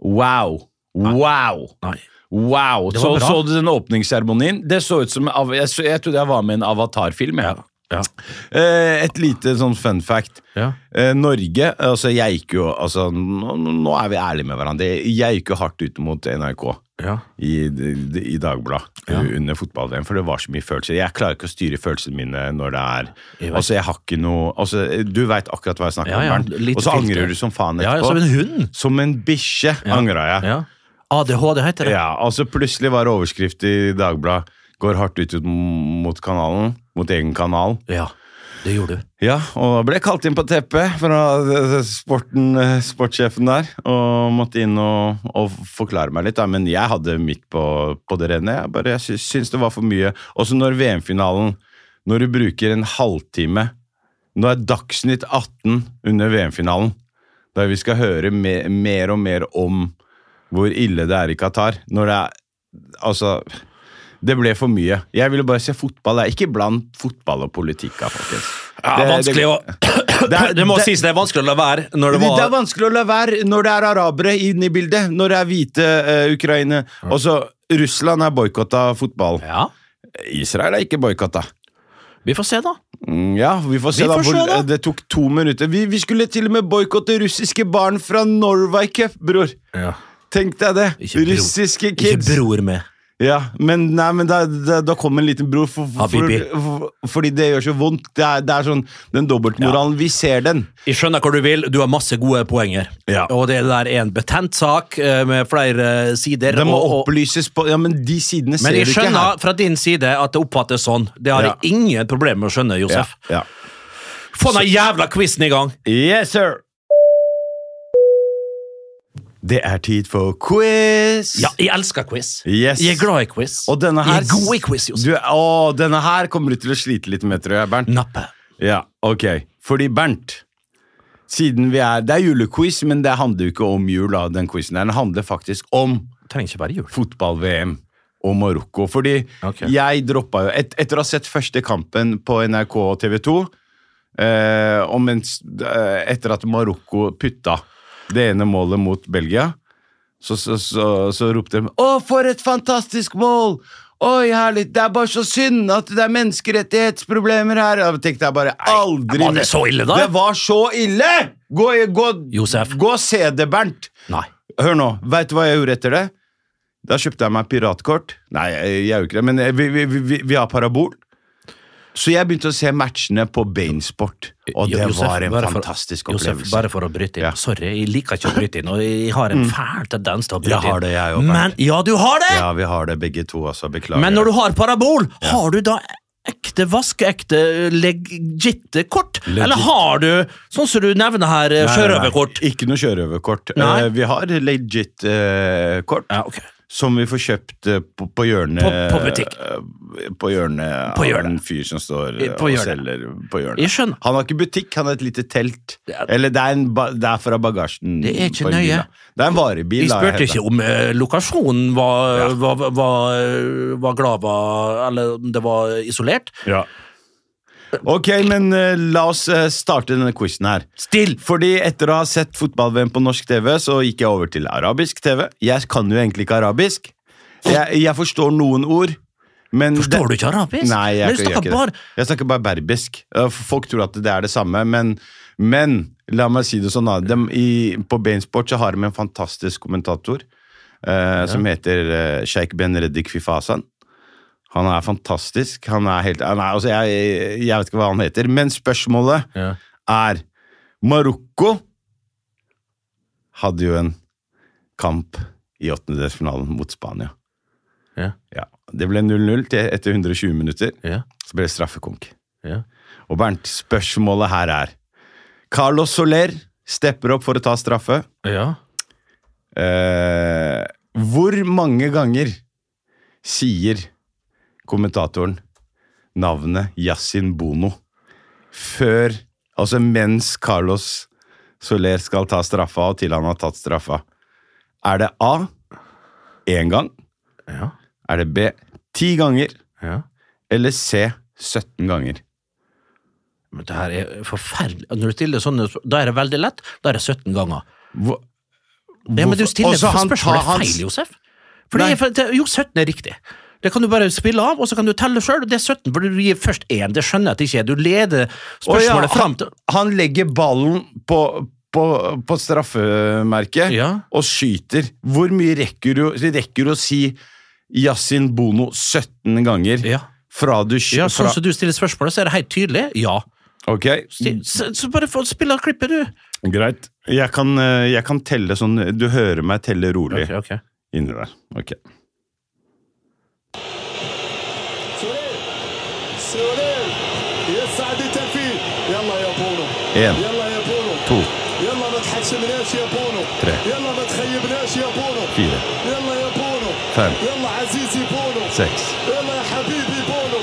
C: Wow! Wow!
D: Nei.
C: Wow!
D: Det
C: Så,
D: var bra.
C: så du den åpningsseremonien? Det så ut som av- Jeg, så, jeg trodde jeg var med i en avatarfilm. jeg.
D: Ja.
C: Eh, et lite sånn fun fact.
D: Ja.
C: Eh, Norge altså jeg gikk jo, altså, nå, nå er vi ærlige med hverandre. Jeg gikk jo hardt ut mot NRK
D: Ja.
C: i, i Dagbladet eh, under fotball-VM, for det var så mye følelser. Jeg klarer ikke å styre følelsene mine når det er
D: Jeg vet.
C: Altså, jeg har ikke noe altså, Du veit akkurat hva jeg snakker
D: Ja, ja,
C: om, Bernt.
D: litt
C: Og så
D: filter.
C: angrer du som faen
D: Ja,
C: etterpå.
D: som en hund.
C: Som en bikkje angra jeg.
D: Ja. ADHD heter det.
C: Ja, altså Plutselig var det overskrift i Dagbladet. Går hardt ut ut mot kanalen. Mot egen kanal.
D: Ja, det gjorde du.
C: Ja, og da ble jeg kalt inn på teppet fra eh, sporten, eh, sportssjefen der. Og måtte inn og, og forklare meg litt, da. men jeg hadde mitt på, på det rene. Jeg, bare, jeg sy- syns det var for mye. Også når VM-finalen, når du bruker en halvtime Nå er Dagsnytt 18 under VM-finalen, der vi skal høre me, mer og mer om hvor ille det er i Qatar. Når det er Altså det ble for mye. Jeg ville bare se fotball. Jeg. Ikke bland fotball og politikk. da, Folkens.
D: Ja,
C: Det-
D: vanskelig å det,
C: Det-
D: må
C: det-
D: sies det er vanskelig å la være når
C: Det,
D: det var
C: det er vanskelig å la være når det er arabere inne i bildet. Når det er hvite uh, ukrainere. Også Russland er boikotta fotball.
D: Ja,
C: Israel er ikke boikotta.
D: vi får se, da.
C: Mm, ja, vi får se,
D: Vi
C: da,
D: får se,
C: hvor-
D: da.
C: Det tok to minutter. Vi, vi skulle til og med boikotte russiske barn fra Norway Cup, bror. Tenk deg det.
D: Ikke bro.
C: Russiske
D: Ikke
C: kids.
D: bror med.
C: Ja, men, nei, men da, da, da kom en liten bror, for, for,
D: Habibi.
C: for, fordi det gjør så vondt. Det er, det er sånn, Den dobbeltmoralen, vi ser den.
D: Jeg skjønner hva du vil, du har masse gode poenger.
C: Ja.
D: Og det der er en betent sak eh, med flere eh, sider.
C: Det må
D: og, og,
C: opplyses på Ja, men de sidene ser
D: men
C: du
D: jeg
C: ikke her.
D: skjønner fra din side at det oppfattes sånn. Det har
C: Ja.
D: jeg ingen problemer med å skjønne, Josef.
C: Ja.
D: Få den jævla quizen i gang!
C: Yes, sir! Det er tid for quiz.
D: Ja, jeg elsker quiz.
C: Yes.
D: Jeg er glad i quiz.
C: Og denne
D: Jeg
C: her
D: er god i quiz, Josef.
C: Du, å, denne her kommer du til å slite litt med, tror jeg, Bernt.
D: Nappe.
C: Ja, ok. Fordi Bernt siden vi er, Det er julequiz, men det handler jo ikke om jul. Da, den quizen her. Den handler faktisk om
D: Trenger ikke være jul.
C: fotball-VM og Marokko. Fordi
D: Ok.
C: jeg droppa jo et, Etter å ha sett første kampen på NRK og TV 2, eh, og mens, eh, etter at Marokko putta det ene målet mot Belgia, så, så, så, så ropte de 'Å, for et fantastisk mål!' Oi, herlig. Det er bare så synd at det er menneskerettighetsproblemer her. Jeg tenkte jeg bare aldri
D: var det
C: mer.
D: så ille da?
C: Det var så ille! Gå, gå,
D: Josef.
C: gå og se det, Bernt.
D: Nei.
C: Hør nå, veit du hva jeg gjorde etter det? Da kjøpte jeg meg piratkort. Nei, jeg jeg gjør ikke det, men vi, vi, vi- vi, vi har parabol. Så jeg begynte å se matchene på Bainsport, og det
D: Josef,
C: var en
D: bare for-
C: fantastisk
D: Josef,
C: opplevelse.
D: bare for å bryte inn.
C: Ja. Mm.
D: Sorry, jeg liker ikke å bryte inn, og jeg har en fæl tendens til å bryte
C: Jeg har
D: inn.
C: det, jeg også,
D: Men, ja, du har det!
C: Ja, vi har det begge to, altså. Beklager.
D: Men når du har parabol, har du da ekte, vaskeekte, legitte kort? Eller har du, sånn som du nevner her,
C: Nei, nei, nei.
D: sjørøverkort?
C: Ikke noe sjørøverkort.
D: Nei.
C: Eh, Vi har legit eh, kort,
D: Ja, ok.
C: som vi får kjøpt eh, på, på hjørnet
D: På- på butikk.
C: eh, På hjørnet
D: På hjørnet.
C: av en fyr som står eh,
D: På
C: og
D: hjørnet.
C: selger på hjørnet.
D: Jeg skjønner.
C: Han har ikke butikk, han har et lite telt.
D: Ja.
C: Eller det er, en ba det er fra bagasjen.
D: Det er ikke
C: på en bil,
D: nøye.
C: da. Det er en varebil.
D: Vi
C: da,
D: spurte
C: jeg heter.
D: ikke om eh, lokasjonen var,
C: Ja.
D: var, var, eh, var glava, eller om det var isolert.
C: Ok, men eh, la oss eh, starte denne quizen her.
D: Still!
C: Fordi etter å ha sett fotball-VM på norsk TV, så gikk jeg over til arabisk TV. Jeg kan jo egentlig ikke arabisk. Jeg, jeg forstår noen ord, men
D: Forstår du ikke arabisk?
C: Nei, jeg,
D: Men du
C: kan- gjør
D: snakker
C: ikke det.
D: bare
C: jeg snakker bare berbisk. Eh, Folk tror at det er det samme, men, men la meg si det sånn. da. Dem i, på Bainsport så har de en fantastisk kommentator eh, som heter uh, Sheikh Benredik Fifasan. Han er fantastisk. Han er helt, han er, altså, jeg, jeg vet ikke hva han heter, men spørsmålet
D: Ja.
C: er Marokko hadde jo en kamp i åttendedelsfinalen mot Spania.
D: Ja.
C: Det ble 0-0 til- etter 120 minutter.
D: Ja.
C: Så ble det straffekonk.
D: Ja.
C: Og Bernt, spørsmålet her er Carlos Soler stepper opp for å ta straffe.
D: Ja.
C: Eh, hvor mange ganger sier kommentatoren navnet Yasin Bono før Altså mens Carlos Soler skal ta straffa, og til han har tatt straffa? Er det A én gang?
D: Ja.
C: Er det B ti ganger?
D: Ja.
C: Eller C 17 ganger?
D: Men det her er forferdelig. Når du stiller sånne sp- Da er det veldig lett. Da er det 17 ganger.
C: Hvor,
D: Ja, men du stiller
C: Også han
D: spørsmålet
C: tar hans-
D: feil, Josef.
C: Nei.
D: Fordi, for, det- jo, 17 er riktig. Det kan du bare spille av, og så kan du telle sjøl. Det er 17, for du gir først én. Det skjønner jeg at det ikke er. Du leder
C: Å
D: spørsmålet
C: ja,
D: fram til
C: Han legger ballen på, på, på straffemerket
D: Ja.
C: og skyter. Hvor mye rekker du, rekker du å si Yasin Bono 17 ganger
D: Ja.
C: fra du sky-
D: ja sånn
C: fra,
D: som du stiller spørsmålet, så er det helt tydelig. Ja.
C: Ok,
D: Si- Så, så bare få spille av klippet, du.
C: greit. Jeg kan, eh, jeg kan telle sånn Du hører meg telle rolig.
D: Ok, ok.
C: Inni der. Ok. En, to, tre, fire, fem, seks,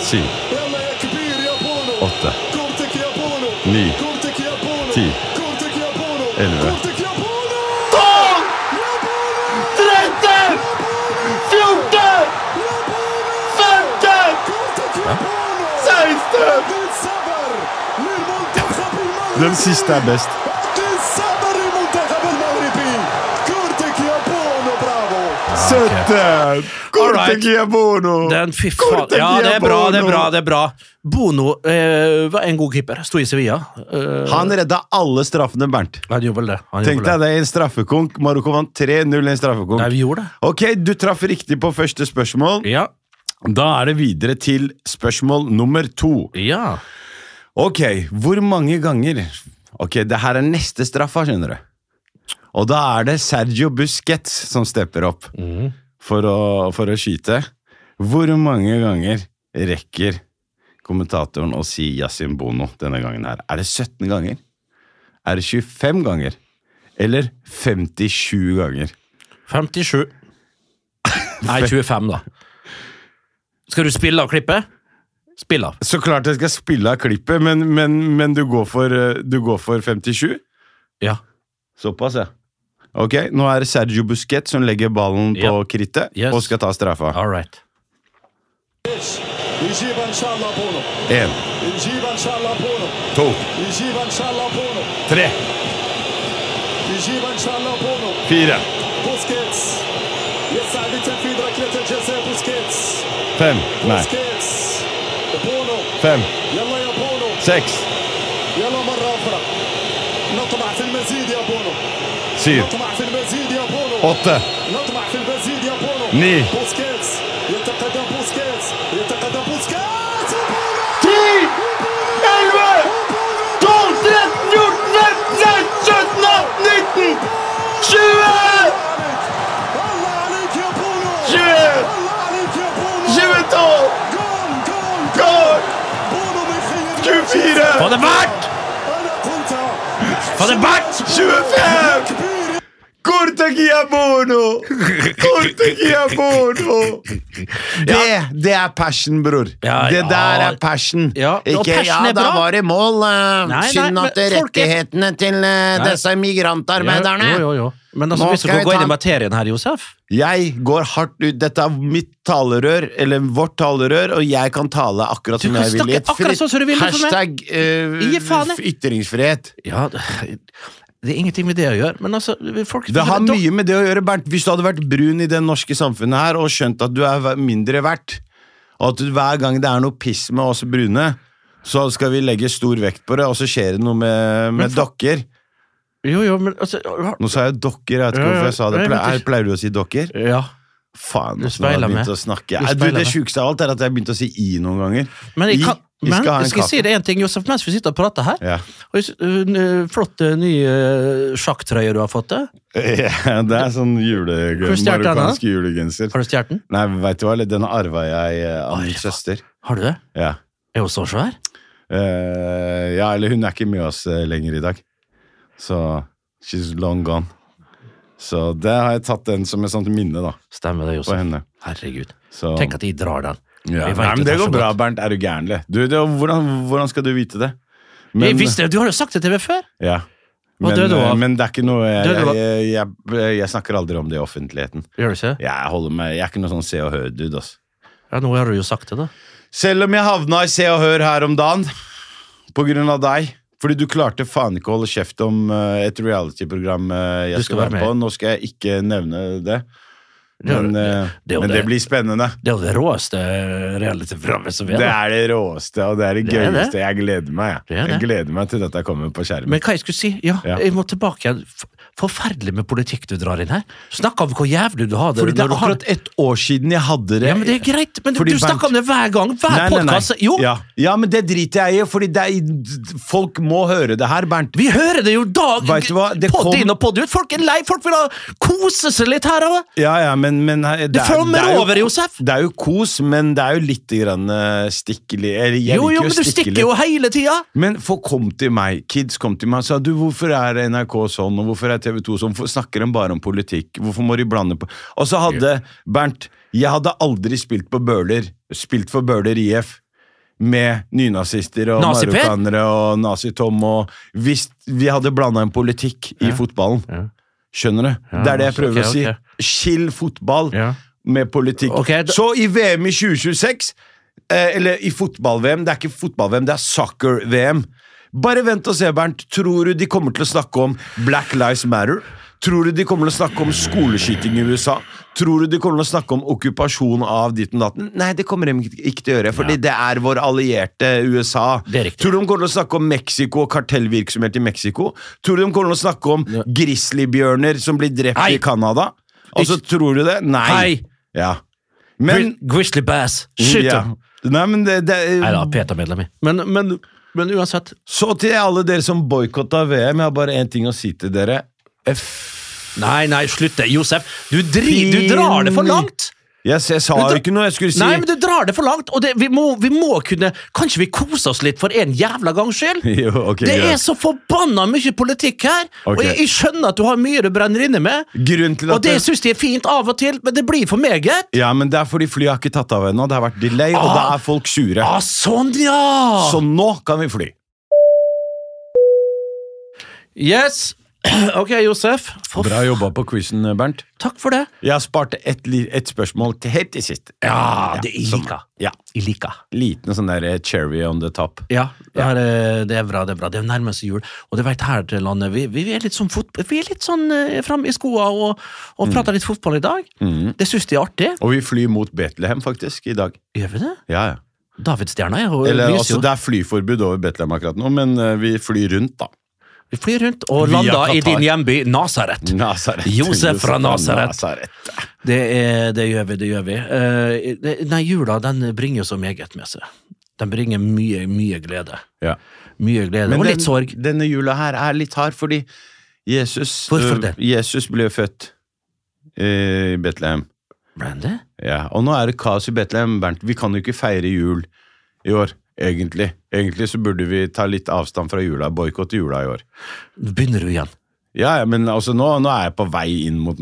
C: syv, åtte, ni, ti, elleve,
A: 13, 14, 15, 16
C: Den siste er best. Søtten! Korte
D: Alright.
C: Giabono!
D: Den, fy faen.
C: Korte
D: Ja, det er bra, det er
C: Giabono.
D: bra. det er bra. Bono eh, var en god keeper. Sto i Sevilla. Eh,
C: Han redda alle straffene, Bernt.
D: han gjorde vel det. Han
C: Tenk
D: gjorde
C: deg det i en straffekonk. Marokko vant 3-0 i en straffekonk.
D: Nei, vi gjorde det.
C: Ok, du traff riktig på første spørsmål.
D: Ja.
C: Da er det videre til spørsmål nummer to.
D: ja.
C: Ok, hvor mange ganger Ok, det her er neste straffa, skjønner du. Og da er det Sergio Busquets som stepper opp for, å, for å skyte. Hvor mange ganger rekker kommentatoren å si Yasin Bono denne gangen her? Er det 17 ganger? Er det 25 ganger? Eller 57 ganger?
D: 57. Nei, 25, da. Skal du spille av klippet? Spill av.
C: Så klart jeg skal spille av klippet, men, men, men du, går for, eh, du går for 57?
D: Ja.
C: Såpass, ja. Ok, Nå er det Sergio Busquets som legger ballen på
D: Ja.
C: krittet
D: Yes.
C: og skal ta straffa.
D: All right.
C: Én, to, tre, fire, fem Nei, fem, seks, syv, åtte,
E: نطمع في المزيد يا بونو
C: ني.
E: بوسكيتس يتقدم بوسكيتس يتقدم بوسكيتس
A: 10, 11, 12, 13, 14, 15, 16, 17,
E: الله عليك يا بونو
A: 18,
E: الله عليك يا
A: 20, 22,
E: بونو جول جول
A: Goal!
E: بونو ما يخيب
A: 24,
D: Få det bort!
E: انا قلت
D: Få det bort!
A: 25!
E: كبير
A: Corte Giabono! Corte Giabono!
C: Det, det er passion, bror.
D: Ja,
C: det
D: ja.
C: der er passion.
D: Ja, og
C: Ikke
D: passion
C: 'ja,
D: er
C: da
D: bra.
C: var det mål'. eh,
D: Nei, nei,
C: Synd at
D: men folk er-
C: rettighetene til eh,
D: Nei.
C: disse migrantarbeiderne
D: Jo, jo, jo. Men altså,
C: Nå
D: hvis du
C: skal
D: kan
C: vi
D: gå
C: ta
D: inn i
C: en-
D: materien her, Josef
C: Jeg går hardt ut. Dette er mitt talerør, eller vårt talerør, og jeg kan tale akkurat
D: Du
C: som
D: kan
C: jeg vil. i et
D: snakke akkurat
C: fritt-
D: sånn som du vil for meg.
C: Hashtag eh,
D: Gi faen, jeg.
C: f- ytringsfrihet.
D: Ja, det det er ingenting med det å gjøre, men altså folk,
C: Det har mye med det å gjøre, Bernt. Hvis du hadde vært brun i det norske samfunnet her og skjønt at du er ver- mindre verdt, og at du, hver gang det er noe piss med oss brune, så skal vi legge stor vekt på det, og så skjer det noe med, med
D: for-
C: dokker.
D: Jo, jo, men altså
C: Nå sa jeg dokker, jeg vet
D: Ja,
C: ikke
D: ja,
C: hvorfor jeg sa det.
D: jeg
C: Ple
D: vet ikke.
C: her pleier du å si dokker?
D: Ja. Du
C: Faen, altså, nå har jeg
D: speiler
C: begynt
D: meg.
C: å snakke.
D: Du
C: Eh, Du, det
D: speiler meg.
C: sjukeste av alt er at jeg har begynt å si i noen ganger.
D: Men jeg
C: I.
D: kan
C: Vi
D: men,
C: skal ha en
D: jeg skal si
C: kaffe.
D: det én ting, Josef, mens vi sitter og prater her.
C: Ja.
D: Og jeg sy- øh, n- flott øh, ny øh, sjakktrøye du har fått. øh.
C: ja, det er sånn jule,
D: Hvor stjal du den, da?
C: marokkansk julegenser.
D: Har du stjålet den?
C: Nei, veit du hva, eller den arva jeg eh, av min søster.
D: Har du det?
C: Ja.
D: Er hun så svær?
C: Eh, ja, eller hun er ikke med oss eh, lenger i dag. Så she's long gone. Så det har jeg tatt den som et sånt minne da,
D: Stemmer det,
C: på
D: Josef.
C: henne.
D: Herregud.
C: Så,
D: Tenk at de drar den.
C: ja.
D: vi vet
C: Nei,
D: at
C: men
D: det
C: det
D: er så
C: går bra,
D: godt.
C: Bernt. Er du gæren, eller? Du, det, hvordan, hvordan skal du vite det? Men,
D: jeg visste, du har jo sagt det til meg før!
C: ja.
D: Hva
C: men,
D: døde du
C: eh,
D: av?
C: men det er ikke noe jeg,
D: Døde du av-
C: jeg, jeg, jeg, snakker aldri om det i offentligheten.
D: Gjør du ikke? det?
C: Jeg, holder meg, jeg er ikke noe sånn se og hør-dude. ass.
D: Ja, nå har du jo sagt det, da.
C: Selv om jeg havna i Se og Hør her om dagen på grunn av deg. Fordi du klarte faen ikke å holde kjeft om eh, et reality-program eh, jeg
D: Du
C: skal,
D: skal
C: være
D: være
C: med på. Nå skal jeg ikke nevne det,
D: Det er-
C: men, eh,
D: det er jo
C: men det
D: det.
C: blir spennende.
D: Det er jo det råeste reality-programmet som er.
C: Det
D: da.
C: er det råeste, og det er det,
D: Det er det.
C: gøyeste. Jeg gleder meg.
D: Det er
C: Jeg. jeg
D: det.
C: gleder meg til dette kommer på skjermen.
D: Men hva jeg skulle si? Ja,
C: Ja.
D: jeg må tilbake igjen. F- forferdelig med politikk du drar inn her. Snakk om hvor jævlig du har det.
C: Fordi det
D: når
C: er
D: du har-
C: akkurat ett år siden jeg hadde det.
D: ja, men det er greit, men
C: Fordi
D: du snakker om det hver gang. Hver podkast. Jo,
C: Ja. ja, men det driter jeg i, fordi det er, folk må høre det her, Bernt.
D: vi hører det jo dag
C: Vet du hva, det
D: Podd
C: kom-
D: inn og podd ut. Folk er lei, folk vil ha kose seg litt her òg.
C: Ja, ja, men, men eh, det,
D: Det flommer
C: er jo-
D: over, Josef.
C: Det er jo kos, men det er jo litt grann eh, stikkelig. Eller jeg
D: Jo,
C: liker
D: jo, men du
C: å stikke
D: stikker
C: litt.
D: jo hele tida.
C: Men folk kom til meg, kids kom til meg og sa du, hvorfor er NRK sånn, og hvorfor er TV 2 sånn, hvorfor snakker de bare om politikk, hvorfor må de blande på Og så hadde Bernt Jeg hadde aldri spilt på Bøhler, spilt for Bøhler IF. Med nynazister og
D: Nazi-Per?
C: marokkanere og Nazi-Tom og Hvis vi hadde blanda en politikk i fotballen. Skjønner du? det er det jeg prøver
D: ok, ok.
C: å si. Skill fotball
D: Ja.
C: med politikk.
D: Ok, da-
C: Så i VM i 2026 eh, Eller i fotball-VM, det er ikke fotball-VM, det er soccer-VM. Bare vent og se, Bernt. Tror du de kommer til å snakke om Black Lives Matter? Tror du de kommer til å snakke om skoleskyting i USA? Tror du de kommer til å snakke om okkupasjon av ditt og datten? Nei, det kommer de ikke ikke til å gjøre, fordi det er vår allierte USA.
D: Det er riktig.
C: Tror du de kommer til å snakke om Mexico og kartellvirksomhet i Mexico? Tror du de kommer til å snakke om grizzlybjørner som blir drept
D: Nei.
C: i Canada? Altså, tror du det? Nei.
D: Hei.
C: Ja. Men
D: Gri- Grizzly Bass. Skyt
C: ja.
D: dem!
C: Nei, men det, det
D: Nei da, Peter-medlem. Men, men, men uansett
C: Så til alle dere som boikotta VM, jeg har bare én ting å si til dere. F...
D: Nei, nei, slutt det. Josef, du, dri, du drar det for langt!
C: Jeg, s- jeg sa
D: Men da-
C: jo ikke noe, jeg skulle si
D: Nei, men du drar det for langt, og det, vi, må, vi må kunne Kanskje vi koser oss litt for en jævla gangs skyld?
C: Jo, ok,
D: det
C: greit.
D: er så forbanna mye politikk her, og
C: Ok.
D: jeg, jeg skjønner at du har mye du brenner inne med.
C: Grunnen til
D: Og
C: at
D: det
C: det-
D: syns de er fint av og til, men det blir for meget.
C: Ja, men det er fordi flyet har ikke tatt av ennå. Det har vært delay, og da
D: Ah.
C: er folk sure.
D: Ah, sånn, ja!
C: Så nå kan vi fly.
D: Yes. Ok, Josef. For,
C: Bra jobba på quizen, Bernt.
D: takk for det.
C: Jeg har spart ett et spørsmål til helt til sist.
D: Ja, det jeg
C: som-
D: liker.
C: Ja,
D: Jeg liker.
C: Liten sånn der eh, cherry on the top.
D: Ja, det er, eh, det er bra. Det er bra. Det er nærmer seg jul. Og du vet her til landet, vi, vi er litt sånn, fot- vi er litt sånn eh, fram i skoa og,
C: Mm.
D: og prater litt fotball i dag. Det syns de er artig.
C: Og vi flyr mot Betlehem, faktisk, i dag.
D: Gjør vi det?
C: Ja, ja.
D: Davidstjerna er jo
C: Eller,
D: lyser
C: altså,
D: jo.
C: det er flyforbud over Betlehem akkurat nå, men eh, vi flyr rundt, da.
D: Vi flyr rundt og
C: Via
D: lander i
C: Qatar. Mm.
D: din hjemby Nasaret.
C: Nasaret.
D: Josef fra Nasaret. Det, er, det gjør vi, det gjør vi. Eh, det- Nei, jula den bringer jo så meget med seg. Den bringer mye, mye glede.
C: Ja.
D: Mye glede, og litt sorg.
C: Denne jula her er litt hard, fordi Jesus,
D: Hvorfor
C: øh,
D: det?
C: Jesus ble født eh, i Betlehem.
D: Brandy?
C: Ja. Og nå er det kaos i Betlehem, Bernt. Vi kan jo ikke feire jul i år, egentlig. Egentlig så burde vi ta litt avstand fra jula, boikotte jula i år.
D: Nå begynner du igjen.
C: Ja, ja, men altså nå, nå er jeg på vei inn mot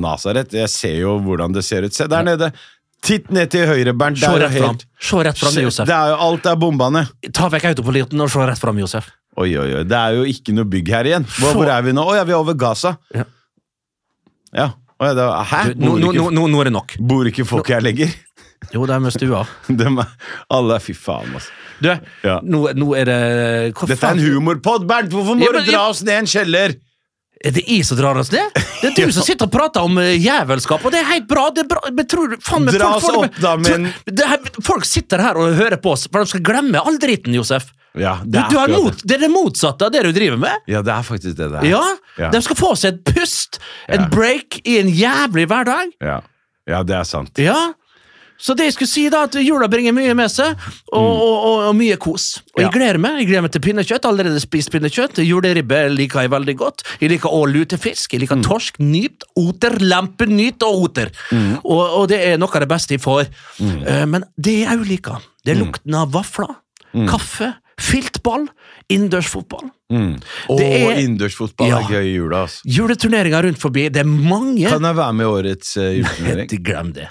C: Nasaret. Jeg ser jo hvordan det ser ut. Se der nede! Titt ned til høyre, Bernt.
D: Se
C: Det er jo
D: rett fram,
C: helt-
D: Se rett fram, Josef.
C: Det er jo alt er bomba ned.
D: Ta vekk autopiloten og se rett fram, Josef.
C: Oi, oi, oi. Det er jo ikke noe bygg her igjen. Hvor, hvor er vi nå? Å ja, vi er over Gaza.
D: Ja.
C: Ja. Å, ja, det er, hæ?
D: Du, nå,
C: Bor
D: nå,
C: ikke,
D: nå, nå nå er det nok.
C: bor ikke folk her lenger?
D: Jo, det er med stua.
C: De er, alle er Fy faen, altså.
D: Du,
C: Ja.
D: nå, nå er det hva
C: Dette er en
D: faen?
C: humorpod, Bernt! Hvorfor må
D: Ja, men-
C: du dra oss ned en kjeller?
D: Er det jeg som drar oss ned? Det er du som sitter og prater om eh, jævelskap, og det er helt bra. Det er bra. Men tror du, faen, men
C: Dra
D: folk,
C: oss
D: får det
C: opp
D: med-
C: da, men-
D: Tror- det her, folk sitter her og hører på oss, for de skal glemme all driten, Josef.
C: Ja,
D: Du,
C: det
D: du er
C: akkurat
D: mot, det er det motsatte av det du driver med.
C: Ja, det er faktisk det det er.
D: Ja,
C: Ja.
D: De skal få seg et pust, et
C: Ja.
D: break i en jævlig hverdag.
C: Ja. ja, det er sant.
D: Ja. Så det jeg skulle si, da, at jula bringer mye med seg, og,
C: Mm.
D: og, og, og mye kos. Og jeg gleder meg. Jeg gleder meg til pinnekjøtt. Allerede spist pinnekjøtt. Juleribbe liker jeg veldig godt. Jeg liker òg lutefisk. Jeg
C: Mm.
D: liker torsk, nyt, oter, lempe, nyt og oter.
C: Mm.
D: Og, og det er noe av det beste jeg får. Eh, Men det jeg òg liker, det
C: Mm.
D: er lukten av vafler, kaffe, filtball, innendørsfotball.
C: Mm. Og
D: Det er-
C: innendørsfotball
D: Ja.
C: er gøy i jula, altså.
D: Juleturneringer rundt forbi. Det er mange.
C: Kan jeg være med i årets uh, juleturnering?
D: Glem det.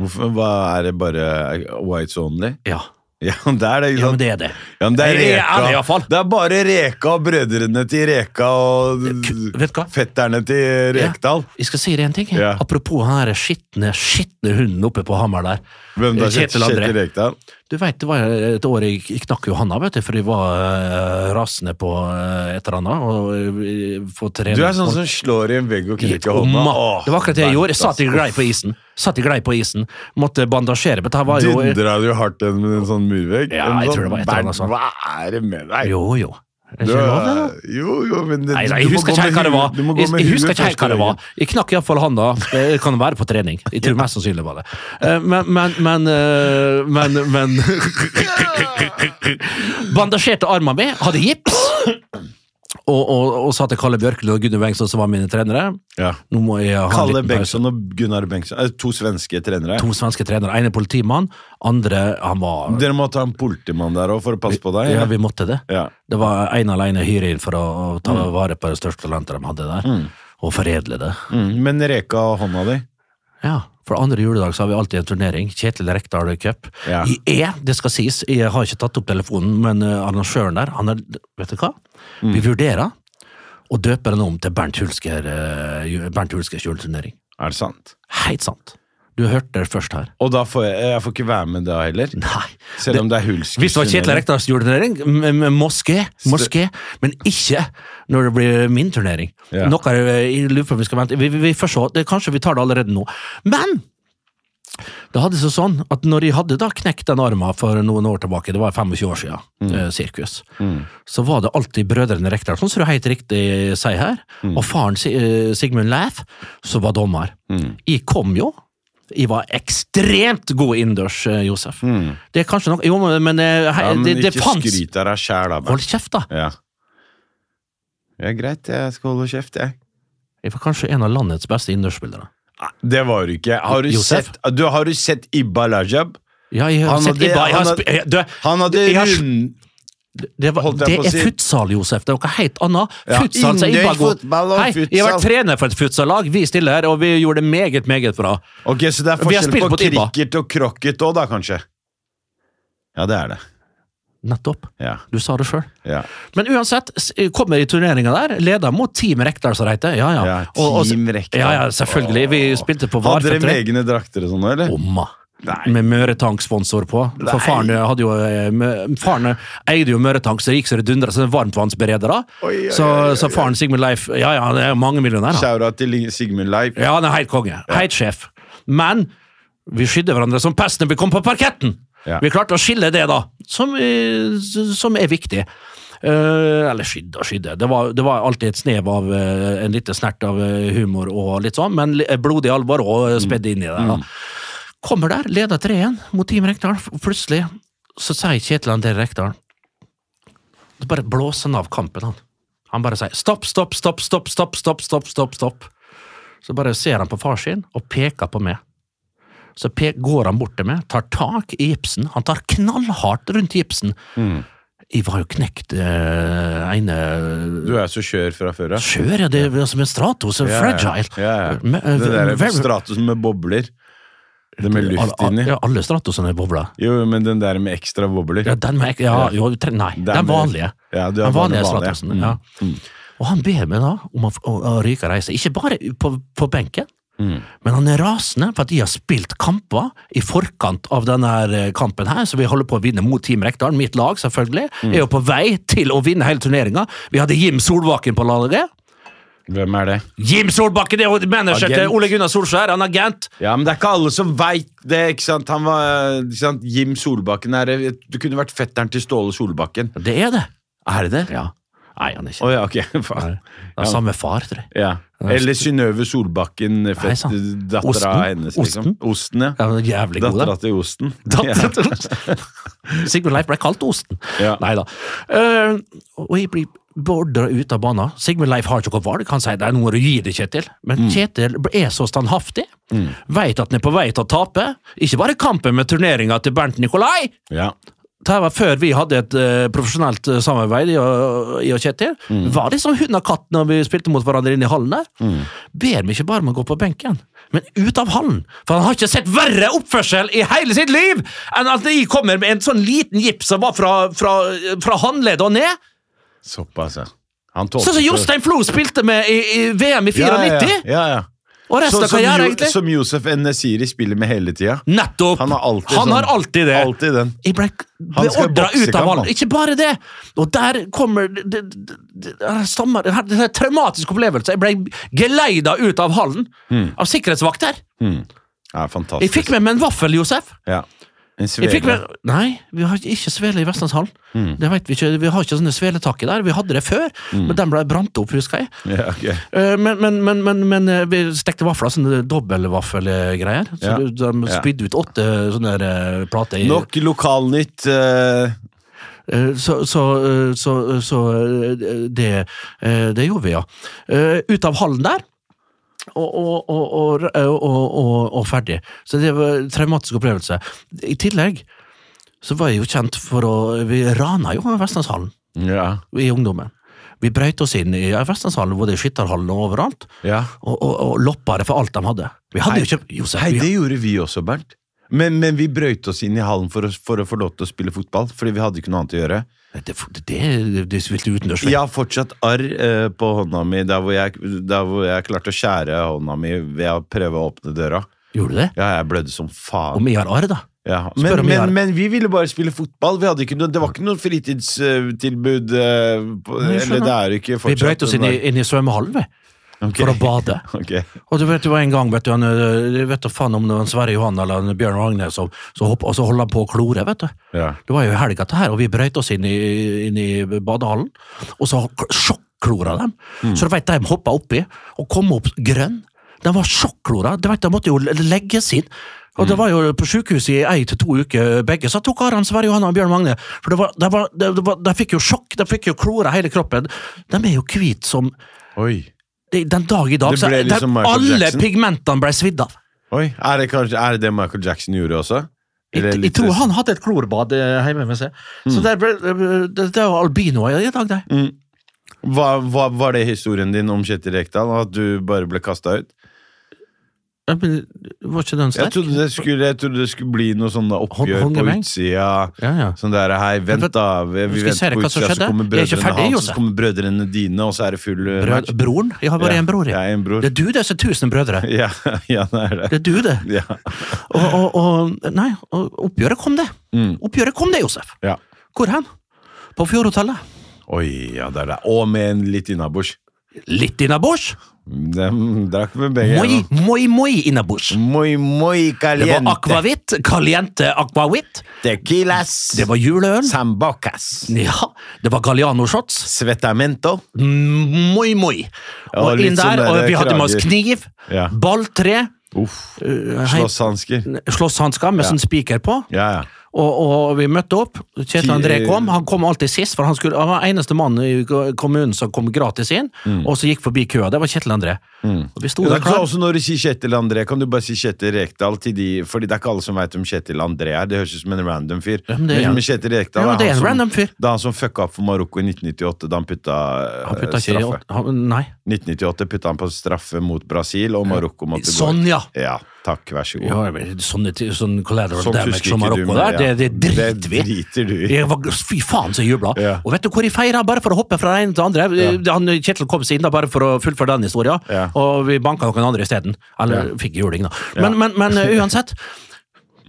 C: Hvorfor- Hva er det bare eh, whites only?
D: Ja.
C: Ja, det er det, ikke
D: ja,
C: sant?
D: men det er det.
C: Ja, men det er
D: Jeg er
C: Reka.
D: ærlig i hvert fall.
C: Det er bare Reka og brødrene til Reka og
D: Vet du hva?
C: fetterne til Rekdal.
D: Jeg skal si deg en ting. jeg.
C: Ja.
D: Apropos han her skitne, skitne hunden oppe på Hamar der.
C: Hvem da?
D: Kjetil
C: Kjetil
D: André.
C: Rekdal?
D: Du vet, det var et år jeg jeg knakk Johanna, vet du, for jeg var eh, rasende på eh, et eller annet. Og eh, på trening.
C: Du er sånn som slår i en vegg og knekker
D: Og
C: hånda.
D: ma-
C: Åh, altså.
D: Det var akkurat det jeg
C: Bernt,
D: gjorde. Jeg satt i
C: ass.
D: glei på isen. Satt i glei på isen. Måtte bandasjere. Men det her var jo
C: Dundra du hardt gjennom en sånn murvegg?
D: Ja,
C: En
D: jeg
C: sånn-
D: tror det var et eller annet
C: Bernt, Hva er det med deg?
D: Jo, jo. Er det ikke lov, det? da?
C: Jo, jo, men det,
D: Nei, nei,
C: du
D: jeg
C: må
D: husker ikke
C: gå med
D: helt hva det
C: hu-
D: var.
C: du må gå
D: Jeg,
C: med
D: jeg husker
C: huet
D: ikke helt hva
C: første
D: det
C: gangen.
D: var. Jeg knakk iallfall handa. Det kan være på trening. Jeg tror mest sannsynlig var det. Eh, Men, men, men, eh, men, men Bandasjerte armen min, hadde gips. Og, og, og sa til Kalle Bjørklund og Gunnar Bengtsson, som var mine trenere
C: Ja.
D: Nå må jeg ha en
C: Kalle
D: liten pause.
C: Bengtsson og Gunnar Bengtsson eh, To svenske trenere.
D: To svenske trenere. Ene politimann, andre han var
C: Dere må ta en politimann der òg for å passe på deg.
D: Ja, vi måtte det.
C: Ja.
D: Det var en alene hyre inn for å å ta vare på det største talentet de hadde der, og foredle det.
C: Mm, men reka hånda di.
D: Ja, for andre juledag så har vi alltid en turnering. Kjetil Rekdal Cup.
C: Ja.
D: Jeg er, det skal sies, jeg har ikke tatt opp telefonen, men eh, arrangøren der, han er, vet du hva? Vi vurderer å døpe den om til Bernt Hulsker, eh, ju- Bernt Hulskers juleturnering.
C: Er det sant?
D: Helt sant. Du hørte det først her.
C: Og da får jeg, jeg får ikke være med da heller?
D: Nei.
C: Selv om det er hulsk?
D: Hvis det var Kjetil Rekdals juleturnering, m- m- moské, moské, men ikke når det blir min turnering.
C: Ja.
D: Noe er, jeg lurer på om vi skal vente. Vi, vi, vi får se, det, kanskje vi tar det allerede nå. Men det hadde seg sånn at når jeg hadde da knekt den armen for noen år tilbake, det var 25 år siden, eh, sirkus, så var det alltid brødrene Rekdal, sånn som du helt riktig sier her, og faren Si- eh, Sigmund Leif, som var dommer. Jeg kom jo, jeg var ekstremt god innendørs, eh, Josef. Det er kanskje noe Jo, men, eh, hei,
C: Mm. Ja, men
D: det, det
C: ikke
D: fantes
C: skryt av deg sjæl, da. Bernt.
D: Hold kjeft, da!
C: Ja. ja, greit. Jeg skal holde kjeft, jeg.
D: Jeg var kanskje en av landets beste innendørsspillere.
C: Det var du ikke. Har du,
D: Josef?
C: sett, du, har du sett Ibba Lajab?
D: Ja, jeg har
C: Han
D: sett
C: hadde-
D: Ibba. Jeg har
C: han
D: sp- jeg- du,
C: Han hadde
D: Jeg har-
C: rund...
D: Det, var,
C: Holdt jeg
D: det
C: på å
D: er
C: si.
D: futsal, Josef. Det er noe helt annet.
C: Ja,
D: Futsal, sier Ibba
C: innendørs
D: god.
C: fotball og
D: Hei, jeg
C: futsal.
D: var trener for et futsallag. Vi stiller her, og vi gjorde det meget, meget bra.
C: Ok, så det er
D: Vi har
C: forskjell
D: spilt
C: på,
D: mot Ibba.
C: cricket og crocket òg, da, kanskje? Ja, det er det.
D: Nettopp.
C: Ja.
D: Du sa det sjøl.
C: ja.
D: Men uansett, s- kommer i turneringa der. Leder mot Team Rekdal, som det heter. Ja, ja.
C: Ja, Team Rekdal.
D: Ja, ja, selvfølgelig. Vi spilte på
C: Hadde dere
D: Varfetter.
C: egne drakter og sånn, eller?
D: Omma.
C: Nei.
D: Med Møretank-sponsor på. For
C: Nei.
D: faren hadde jo eh, mø- Faren eide jo Møretank, så det gikk så det dundra. Så det er varmtvannsberedere.
C: Oi, oi,
D: Så,
C: oi, oi,
D: så faren Sigmund Leif Ja, ja, det er jo mange millionærer.
C: Shout-out til Ling- Sigmund Leip.
D: Ja, han er helt konge. Helt sjef. Men vi skydde hverandre som pest når vi kom på parketten!
C: Ja.
D: Vi klarte å skille det, da, som, eh, som er viktig. Eh, eller skydde og skydde. Det var, det var alltid et snev av eh, en liten snert av eh, humor og litt sånn, men li- blodig alvor og eh, spedd inn i det. da. Kommer der, leder 3-1 mot Team Rekdal. og Plutselig så sier Kjetil André Rekdal Så bare blåser han av kampen, han. Han bare sier stopp, stopp, stopp, stopp, stopp, stopp, stopp, stopp, stopp. Så bare ser han på far sin og peker på meg. Så pe går han bort til meg, tar tak i gipsen. Han tar knallhardt rundt gipsen.
C: Mm.
D: Jeg var jo knekt eh, ene
C: Du er så skjør fra før av.
D: Skjør, ja. Det er som en stratos. en
C: Ja, ja.
D: fragile.
C: Ja, ja.
D: Men, eh,
C: Det der er
D: very-
C: Stratus med bobler. Det med luft inni.
D: Ja, alle stratosene er bobler.
C: Jo, men den der med ekstra bobler.
D: Ja, den med, ja, jo, tre, nei,
C: Det er
D: den
C: mer-
D: vanlige.
C: Ja, du er
D: den vanlige
C: vanlig, vanlig. Mm.
D: Stratosen. sånn, Ja. Og han ber meg da om å, f- å, å ryke og reise, ikke bare på, på benken,
C: Mm.
D: men han er rasende for at de har spilt kamper i forkant av denne her, eh, kampen her, så vi holder på å vinne mot Team Rekdal, mitt lag selvfølgelig,
C: Mm.
D: er jo på vei til å vinne hele turneringa. Vi hadde Jim Solbakken på laget.
C: Mm. Hvem er det?
D: Jim Solbakken det er jo manager
C: Agent.
D: til Ole Gunnar Solskjær, han er agent.
C: Ja, men det er ikke alle som veit det. ikke sant? Han var, ikke sant? Jim Solbakken er Du kunne vært fetteren til Ståle Solbakken.
D: Det er det.
C: Er det det?
D: Ja. Nei, han er
C: Å
D: ikke det.
C: ja, ok.
D: Nei. Det
C: Faen.
D: er samme far, tror jeg.
C: Ja. Eller Synnøve Solbakken, fett
D: sant.
C: dattera
D: Osten?
C: hennes.
D: Osten?
C: liksom. Osten, ja.
D: Ja, han er jævlig god, da.
C: Dattera til Osten.
D: Datteren til Osten. Sigmund Leif ble kalt Osten.
C: Ja.
D: Nei da. Eh, og jeg blir beordra ut av banen. Sigmund Leif har ikke noe valg. Han sier det er noe å gi det, Kjetil. Men Kjetil er så standhaftig. Veit at han er på vei til å tape. Ikke bare kampen med turneringa til Bernt Nikolai.
C: Ja.
D: Dette var før vi hadde et eh, profesjonelt eh, samarbeid, jeg og, jeg og Kjetil.
C: Mm.
D: Var liksom hund og katt når vi spilte mot hverandre inne i hallen der. Ber meg ikke bare om å gå på benken, men ut av hallen. For han har ikke sett verre oppførsel i hele sitt liv enn at de kommer med en sånn liten gips som var fra, fra, fra håndleddet og ned.
C: Såpass, ja. Han tålte
D: Sånn som
C: ikke-
D: Jostein Flo spilte med i, i VM i 94!
C: Ja, ja, ja, ja.
D: Og resten
C: Sånn
D: av
C: som,
D: karrieren,
C: jo,
D: egentlig.
C: som Josef Nesiri spiller med hele tida.
D: Nettopp!
C: Han har alltid
D: Han
C: sånn-
D: har alltid det.
C: Alltid den.
D: Jeg ble
C: Han skal i
D: beordra ut av
C: boksekamp,
D: ballen.
C: han.
D: Ikke bare det! Og der kommer det, det, det, det, her stammer, det, her, det her traumatiske opplevelse. Jeg ble geleida ut av hallen av sikkerhetsvakter.
C: Hmm. Ja, Hmm. fantastisk.
D: Jeg fikk med meg en vaffel, Josef.
C: Ja. En
D: Vi fikk
C: svele.
D: vel, nei, vi har ikke svele i Vestlandshallen.
C: Hmm.
D: Det vet Vi ikke, vi har ikke sånne sveletaket der. Vi hadde det før, men den ble brant opp, husker jeg.
C: Ja, ok.
D: Eh, Men, men, men, men, men eh, vi stekte vafler, sånne dobbelvaffelgreier. Så
C: Ja.
D: du- de
C: Ja.
D: spydde ut åtte sånne der, eh, plater. i-
C: Nok lokalnytt. eh,
D: Eh, Så, så, eh, så, så eh, det, eh, det gjorde vi, ja. Eh, Ut av hallen der. Og, og, og, og, og, og, og ferdig. Så det var en traumatisk opplevelse. I tillegg så var jeg jo kjent for å Vi rana jo Vestlandshallen
C: ja.
D: i ungdommen. Vi brøyt oss inn i Vestlandshallen, både i skytterhallen og overalt,
C: ja.
D: og, og, og loppa det for alt de hadde. Vi hadde jo ikke Josef,
C: Hei,
D: vi-
C: det gjorde vi også, Bernt. Men, men vi brøyt oss inn i hallen for å, for å få lov til å spille fotball. Fordi vi hadde ikke noe annet å gjøre.
D: det, det, det, det spilte utendørs. vi.
C: Jeg har fortsatt arr eh, på hånda mi der hvor, jeg, der hvor jeg klarte å skjære hånda mi ved å prøve å åpne døra.
D: Gjorde du det?
C: Ja, jeg blødde som
D: Og
C: faen.
D: vi har arr, da.
C: Ja.
D: Spør
C: Men,
D: om jeg har-
C: men, men vi ville bare spille fotball. Vi hadde ikke noe, det var ikke noe fritidstilbud. eh, på-
D: Nei, jeg skjønner.
C: Eller det er det ikke
D: Vi
C: fortsatt.
D: brøyt oss inn i, inn i svømmehallen, vi.
C: Ok.
D: for å bade.
C: Ok.
D: Og du vet det var en gang, vet du, han, øh, jeg vet da faen om det var en Sverre Johan eller en Bjørn Ragne som så hopp, og så holdt han på å klore, vet du.
C: Ja.
D: Det var jo i helga dette her, og vi brøyt oss inn i, inn i badehallen, og så k- sjokklora dem. Så du vet, de hoppa oppi og kom opp grønn. De var sjokklora. Du vet, de måtte jo le- legges inn. Og det var jo på sykehuset i ei til to uker, begge. Så tok Aran Sverre Johanna og Bjørn Magne. For det var, det var, det var, de fikk jo sjokk, de fikk jo klora hele kroppen. De er jo hvite som
C: Oi.
D: det- Den dag i dag
C: Det
D: så
C: ble
D: er-
C: liksom
D: der,
C: Michael
D: alle
C: Jackson.
D: pigmentene ble svidd av.
C: Oi. Er det, kanskje, er det det Michael Jackson gjorde også? Eller
D: Jeg, jeg
C: litt- Mm.
D: tror han hadde et klorbad eh, hjemme med seg. Så det, ble, eh, det, det er jo albinoer i dag, det.
C: Hva, hva, var det historien din om Kjetil Rekdal? At du bare ble kasta ut?
D: Ja, men Var ikke den
C: Jeg
D: sterk?
C: trodde, det skulle, jeg trodde det skulle bli noe sånn oppgjør
D: Hong-
C: på
D: hongemeng?
C: utsida.
D: Ja, ja.
C: Sånn der, hei,
D: Men
C: vent da, vi,
D: nå
C: vi
D: skal jeg se
C: venter
D: deg
C: på
D: hva som
C: utsida, så
D: skjedde.
C: kommer
D: Jeg er ikke ferdig,
C: brødrene hans,
D: Josef.
C: så kommer brødrene dine, og så er det full eh,
D: Brød,
C: match.
D: broren? Jeg har bare én bror.
C: Ja,
D: Jeg.
C: jeg er en bror.
D: Det er du, det, som er tusen brødre.
C: Ja, ja, det er det.
D: Det er du, det.
C: Ja.
D: Og, og, og Nei, og oppgjøret kom, det.
C: Mm.
D: Oppgjøret kom, det, Josef.
C: ja.
D: Hvor hen? På Fjordhotellet.
C: Oi, ja, det er det. Og med en litt innabords.
D: Litt innabords.
C: De drakk med begge.
D: Moi,
C: hendene.
D: moi, moi innabords.
C: Moi, moi,
D: Det var
C: caliente.
D: akvavitt. Caliente akvavitt.
C: Tequilas.
D: Det var juleøl.
C: Sambocas.
D: Ja, det var Galliano-shots.
C: Svetamento.
D: Moi, moi.
C: Ja,
D: Og
C: litt
D: inn
C: sånn
D: der, og
C: der
D: vi hadde med oss
C: krager.
D: kniv,
C: Ja.
D: balltre,
C: Uff.
D: eh, hei-
C: Slåsshansker.
D: slåsshansker med sånn spiker på,
C: Ja, ja.
D: og, og vi møtte opp. Kjetil André
C: Ti-
D: kom, han kom alltid sist, for han, skulle, han var eneste mann i ko- kommunen som kom gratis inn, og så gikk forbi køa. Det var Kjetil André. Og vi sto
C: Mm. Ja,
D: der
C: det er ikke så-
D: klar.
C: også når du sier Kjetil André, kan du bare si Kjetil Rekdal til de Fordi det er ikke alle som veit om Kjetil André er. Det høres ut som en random fyr.
D: Ja, men det er-
C: men, men Kjetil Rekdal
D: Ja, men det er
C: han
D: en
C: som-
D: random fyr.
C: Det er han som fucka opp for Marokko i 1998 da han putta,
D: Han
C: eh,
D: putta ikke i
C: straffe.
D: åt- han- Nei.
C: 1998 putta han på straffe mot Brasil, og Marokko måtte
D: Sånn,
C: gå.
D: ja.
C: Ja, takk, vær så god.
D: Ja, men sånne, ti- sånn collateral
C: Sånn
D: damage
C: fusker
D: som
C: ikke du
D: Marokko
C: med.
D: der, det, det
C: ja.
D: driter vi i.
C: driter du i.
D: Jeg var, fy faen, så jeg jubla.
C: Ja.
D: Og vet du hvor jeg feira, bare for å hoppe fra det ene til det andre? Eh, Han, Kjetil kom seg inn da, bare for å fullføre den historien,
C: Ja.
D: og vi banka noen andre isteden. Eller fikk juling, da. Men, men, men eh, uansett,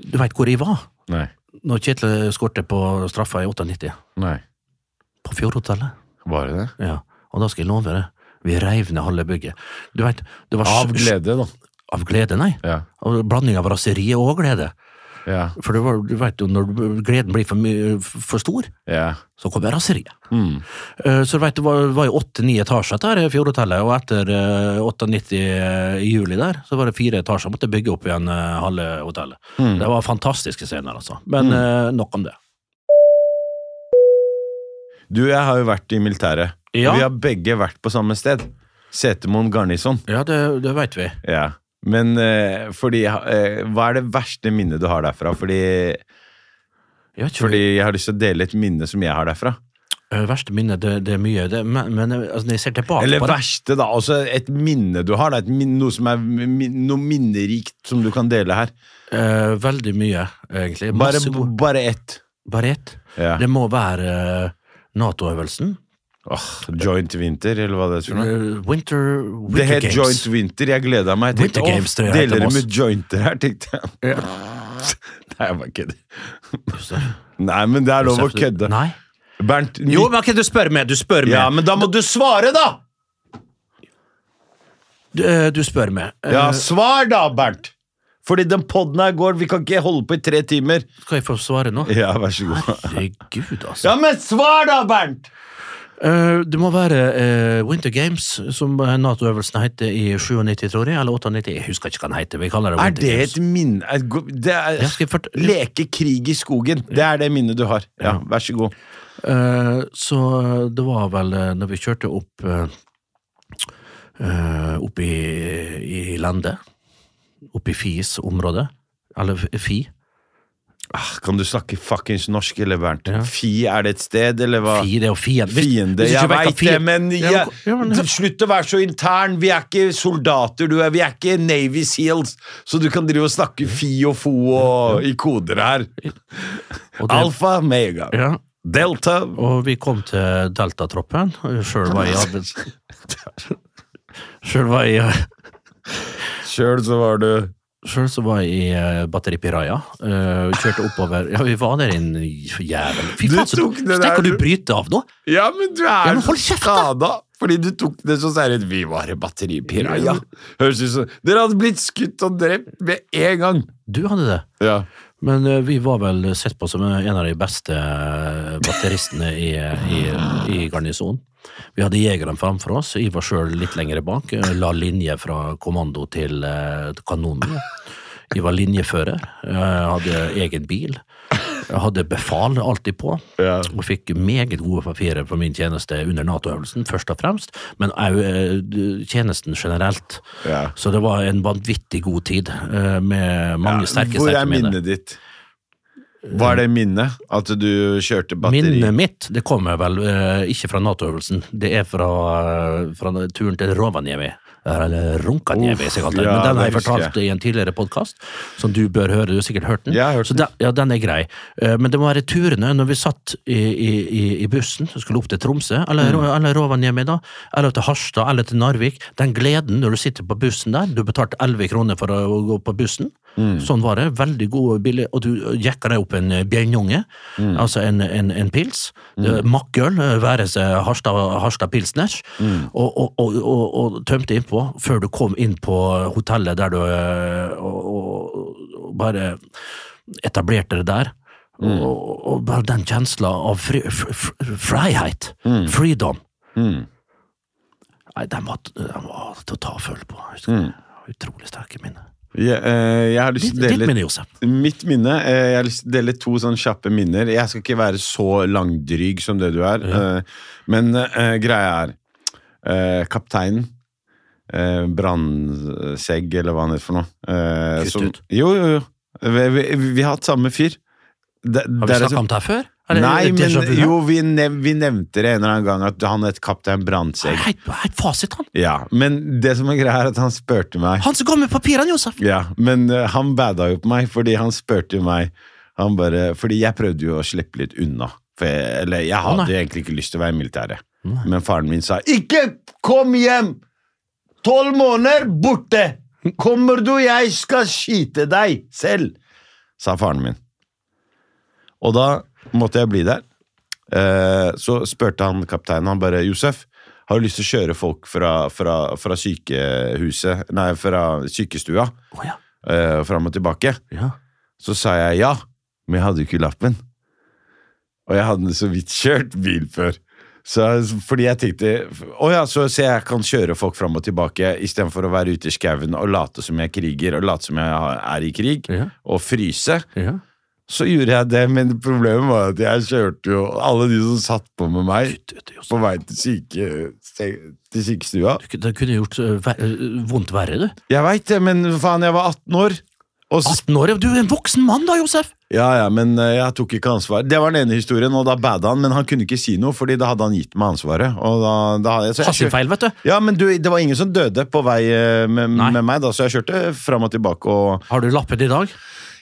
D: du veit hvor jeg var
C: Nei.
D: når Kjetil skårte på straffa i 98?
C: Nei.
D: På Fjordhotellet.
C: Var det det?
D: Ja. Og da skal jeg love deg, vi reiv ned halve bygget. Du veit, det var sj-
C: Av glede, da.
D: Av glede, nei.
C: Ja.
D: Og blanding av raseri og glede.
C: Ja.
D: For det var, du veit jo, når gleden blir for, mye- for stor,
C: ja. Hmm.
D: så kom raseriet. Eh, Så du vet, det var, var jo åtte-ni etasjer der i Fjordhotellet, og etter eh, 98 eh, i juli der, så var det fire etasjer. Måtte bygge opp igjen eh, halve hotellet. Det var fantastiske scener, altså. Men eh, nok om det.
C: Du, jeg har jo vært i militæret.
D: Ja.
C: Og vi har begge vært på samme sted. Setermoen garnison.
D: Ja, det, det veit vi.
C: Ja. Men eh, fordi eh, Hva er det verste minnet du har derfra? Fordi,
D: Jeg vet ikke,
C: fordi jeg har lyst til å dele et minne som jeg har derfra.
D: eh, Verste minne, det, det er mye. Det, men men eh, altså, når jeg ser tilbake
C: Eller
D: på det
C: verste, da. Altså et minne du har. Da. Et min, noe som er min, noe minnerikt som du kan dele her.
D: eh, Veldig mye, egentlig.
C: Bare,
D: Masse god
C: bare ett.
D: Bare ett.
C: Ja.
D: Det må være eh, Nato-øvelsen.
C: Åh, joint winter, eller hva det er. for noe.
D: Eh, Winter,
C: Det
D: winter
C: het
D: Games.
C: Joint Winter. Jeg gleda meg. Jeg tenkte,
D: Winter Games, det
C: åh,
D: heter
C: deler
D: det
C: det
D: også.
C: med jointer her, tenkte jeg. Nei, jeg bare kødder. Nei, men det er lov å kødde.
D: Nei.
C: Bernt,
D: Jo, men ok, du spør meg, du spør meg.
C: ja, men da må du svare, da!
D: Du, eh, du spør meg. Eh,
C: Ja, svar da, Bernt! Fordi den podden her går, vi kan ikke holde på i tre timer.
D: Skal jeg få svare nå?
C: Ja, vær så god.
D: Herregud, altså.
C: Ja, men svar da, Bernt!
D: Eh, det må være eh, Winter Games, som eh, Nato-øvelsen heter i 97, tror jeg. Eller 98. Jeg husker ikke hva den heter. Vi kaller det
C: Er
D: Winter
C: det
D: Games.
C: et minne et go- Det er
D: Jeg skal fort-
C: Leke krig i skogen. Det er det minnet du har. Ja, vær så god.
D: Eh, Så det var vel eh, når vi kjørte opp eh, eh, Opp i, i landet. Opp i Fis område. Eller F- Fi.
C: Ah, kan du snakke fuckings norsk, eller Bernt?
D: Ja.
C: Fi, er det et sted, eller hva?
D: Fi, det er jo fiende. Hvis-
C: Fiende,
D: hvis du ikke vet
C: jeg
D: hva
C: veit det,
D: fiende-
C: men
D: Ja,
C: jeg,
D: men- ja, men-
C: Slutt å være så intern. Vi er ikke soldater, du er. Vi er ikke Navy Seals, så du kan drive og snakke fi og fo og i koder her.
D: og det-
C: Alfa, mega,
D: Ja,
C: delta
D: og vi kom til Deltatroppen. Sjøl var jeg i arbeids... Sjøl var jeg i
C: Sjøl så var du
D: Sjøl så var jeg i eh, Batteripiraya. eh, kjørte oppover Ja, vi var der en jævel Fy
C: Du
D: faen, så
C: tok det der,
D: tenker du
C: du.
D: bryter av nå?
C: Ja, men du er
D: Ja, men hold
C: så
D: kjeft, da!
C: skada. Fordi du tok det så seriøst. Vi var i batteripiraja. Høres ut som Dere hadde blitt skutt og drept med en gang.
D: Du hadde det.
C: Ja.
D: Men eh, vi var vel sett på som en av de beste eh, batteristene i, i, i garnisonen. Vi hadde jegeren framfor oss, jeg var sjøl litt lenger bak. eh, La linje fra kommando til eh, kanonen. Jeg var linjefører, eh, hadde egen bil. Jeg hadde befal alltid på,
C: Ja.
D: og fikk meget gode papirer for min tjeneste under Nato-øvelsen, først og fremst, men òg tjenesten generelt.
C: Ja.
D: Så det var en vanvittig god tid, eh, med mange sterke,
C: Hvor
D: sterke
C: er minnet ditt? Hva er det minnet? At du kjørte batteri?
D: Minnet mitt det kommer vel eh, ikke fra Nato-øvelsen, det er fra, eh, fra turen til Rovaniemi. Eller Runkanjemi,
C: Uff,
D: som jeg kaller det.
C: ja,
D: Men den har
C: det
D: jeg
C: husker
D: fortalt i en tidligere podkast, som du bør høre. Du har sikkert hørt den.
C: Jeg har hørt
D: så den. Ja, den er grei. Eh, Men det må være turene når vi satt i, i, i- i bussen og skulle opp til Tromsø, eller, Ro- eller Rovaniemi, da, eller til Harstad, eller til Narvik. Den gleden når du sitter på bussen der, du betalte 11 kroner for å å gå på bussen. Sånn var det. Veldig god og billig. Og du jekka deg opp en eh, bjørnunge, altså en, en, en pils. Mm. Makkøl, eh, være seg Harstad, Harstad Pilsners, og, og, og, og, og tømte innpå før du kom inn på hotellet der du eh, og, og, og bare etablerte det der. Og, og bare den kjensla av fri, fr, fr, frihet, freedom.
C: Hmm.
D: Nei, den var, den var til å ta og føle på. jeg husker det. Utrolig sterke minner.
C: Jeg, eh, jeg har lyst
D: Ditt,
C: til å
D: ditt
C: dele
D: minne, Josef.
C: Mitt minne eh, Jeg har lyst til å dele to sånn kjappe minner. Jeg skal ikke være så langdryg som det du er, eh, men eh, greia er eh, Kapteinen eh, Brandsegg, eller hva han heter for noe. Eh,
D: Kutt ut.
C: Jo, jo, jo. Vi, vi, vi har hatt samme fyr. Det-
D: Har
C: der
D: vi
C: er så-
D: snakka om det her før?
C: Nei, men
D: déjà vu her?
C: jo, vi, nev vi nevnte det en eller annen gang, at han het kaptein Brandsegg.
D: Helt, helt fasit, han.
C: Ja, men det som er greia, er at han spurte meg
D: Han som går med papirene, Josef.
C: Ja, men eh, han bada jo på meg, fordi han spurte jo meg han bare, Fordi jeg prøvde jo å slippe litt unna. For jeg, eller jeg
D: nei.
C: hadde egentlig ikke lyst til å være i militæret. Men faren min sa 'Ikke kom hjem! Tolv måneder borte! Kommer du, jeg skal skyte deg selv!' sa faren min. Og da måtte jeg bli der. Eh, Så spurte han kapteinen, han bare 'Josef, har du lyst til å kjøre folk fra, fra, fra sykehuset Nei, fra sykestua?'
D: Å ja.
C: eh, fram og tilbake.
D: ja.
C: Så sa jeg ja, men jeg hadde jo ikke lappen. Og jeg hadde så vidt kjørt bil før. Så, fordi jeg tenkte Å ja, så, så jeg kan kjøre folk fram og tilbake istedenfor å være ute i skauen og late som jeg kriger og late som jeg har- er i krig,
D: Ja.
C: og fryse.
D: ja.
C: Så gjorde jeg det, men problemet var at jeg kjørte jo alle de som satt på med meg
D: Døde, Josef.
C: på vei til, syke, til sykestua.
D: Du kunne- Det kunne gjort øh, ver- øh, vondt verre, du.
C: Jeg veit det, men faen, jeg var 18 år. Og så
D: 18 år, ja, du er en voksen mann da, Josef!
C: Ja, ja, men eh, jeg tok ikke ansvar. Det var den ene historien, og da bada han, men han kunne ikke si noe, fordi da hadde han gitt meg ansvaret. Og da, da hadde jeg, så jeg
D: Hatt sin feil, vet du.
C: kjør- Ja, men du, det var ingen som døde på vei eh, med,
D: Nei.
C: med meg, da, så jeg kjørte fram og tilbake og
D: Har du lappen i dag?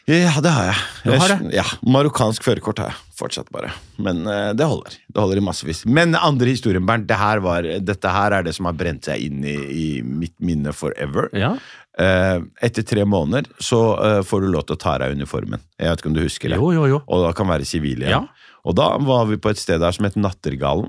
C: Ja, det har jeg.
D: Du har det?
C: Jeg- Ja, Marokkansk førerkort har jeg fortsatt, bare. Men eh, det holder. Det holder i massevis. Men andre historien, Bernt, det her var, dette her er det som har brent seg inn i, i mitt minne forever.
D: Ja.
C: Eh, etter tre måneder så eh, får du lov til å ta av deg uniformen. Jeg vet ikke om du husker det.
D: Jo, jo, jo.
C: Og da kan være sivile.
D: Ja.
C: Og da var vi på et sted der som het Nattergallen.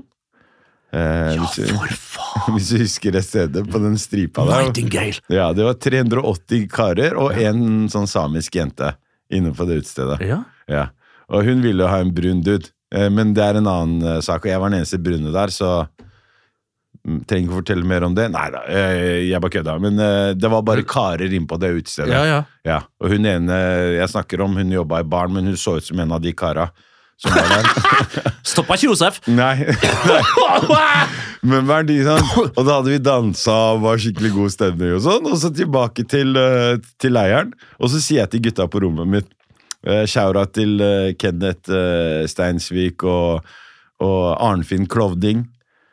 C: Eh, hvis du-
D: For faen!
C: hvis du husker det stedet, på den stripa der.
D: Nightingale!
C: Ja, det var 380 karer og en sånn samisk jente inne på det utestedet.
D: Ja.
C: Ja. Og hun ville jo ha en brun dude, Eh, men det er en annen eh, sak. Og jeg var den eneste brune der, så Mm, Trenger ikke å fortelle mer om det. Nei da, eh, jeg bare kødda. Men eh, det var bare karer inne på det utestedet.
D: Ja, ja.
C: Og hun ene jeg snakker om, hun jobba i baren, men hun så ut som en av de kara som var der.
D: Stoppa ikke Josef!
C: Nei. Men hva er de sånn? Og da hadde vi dansa og var skikkelig god stemning og sånn. Og så tilbake til, eh, til leiren. Og så sier jeg til gutta på rommet mitt eh, Shoura til eh, Kenneth eh, Steinsvik og, og Arnfinn Klovding,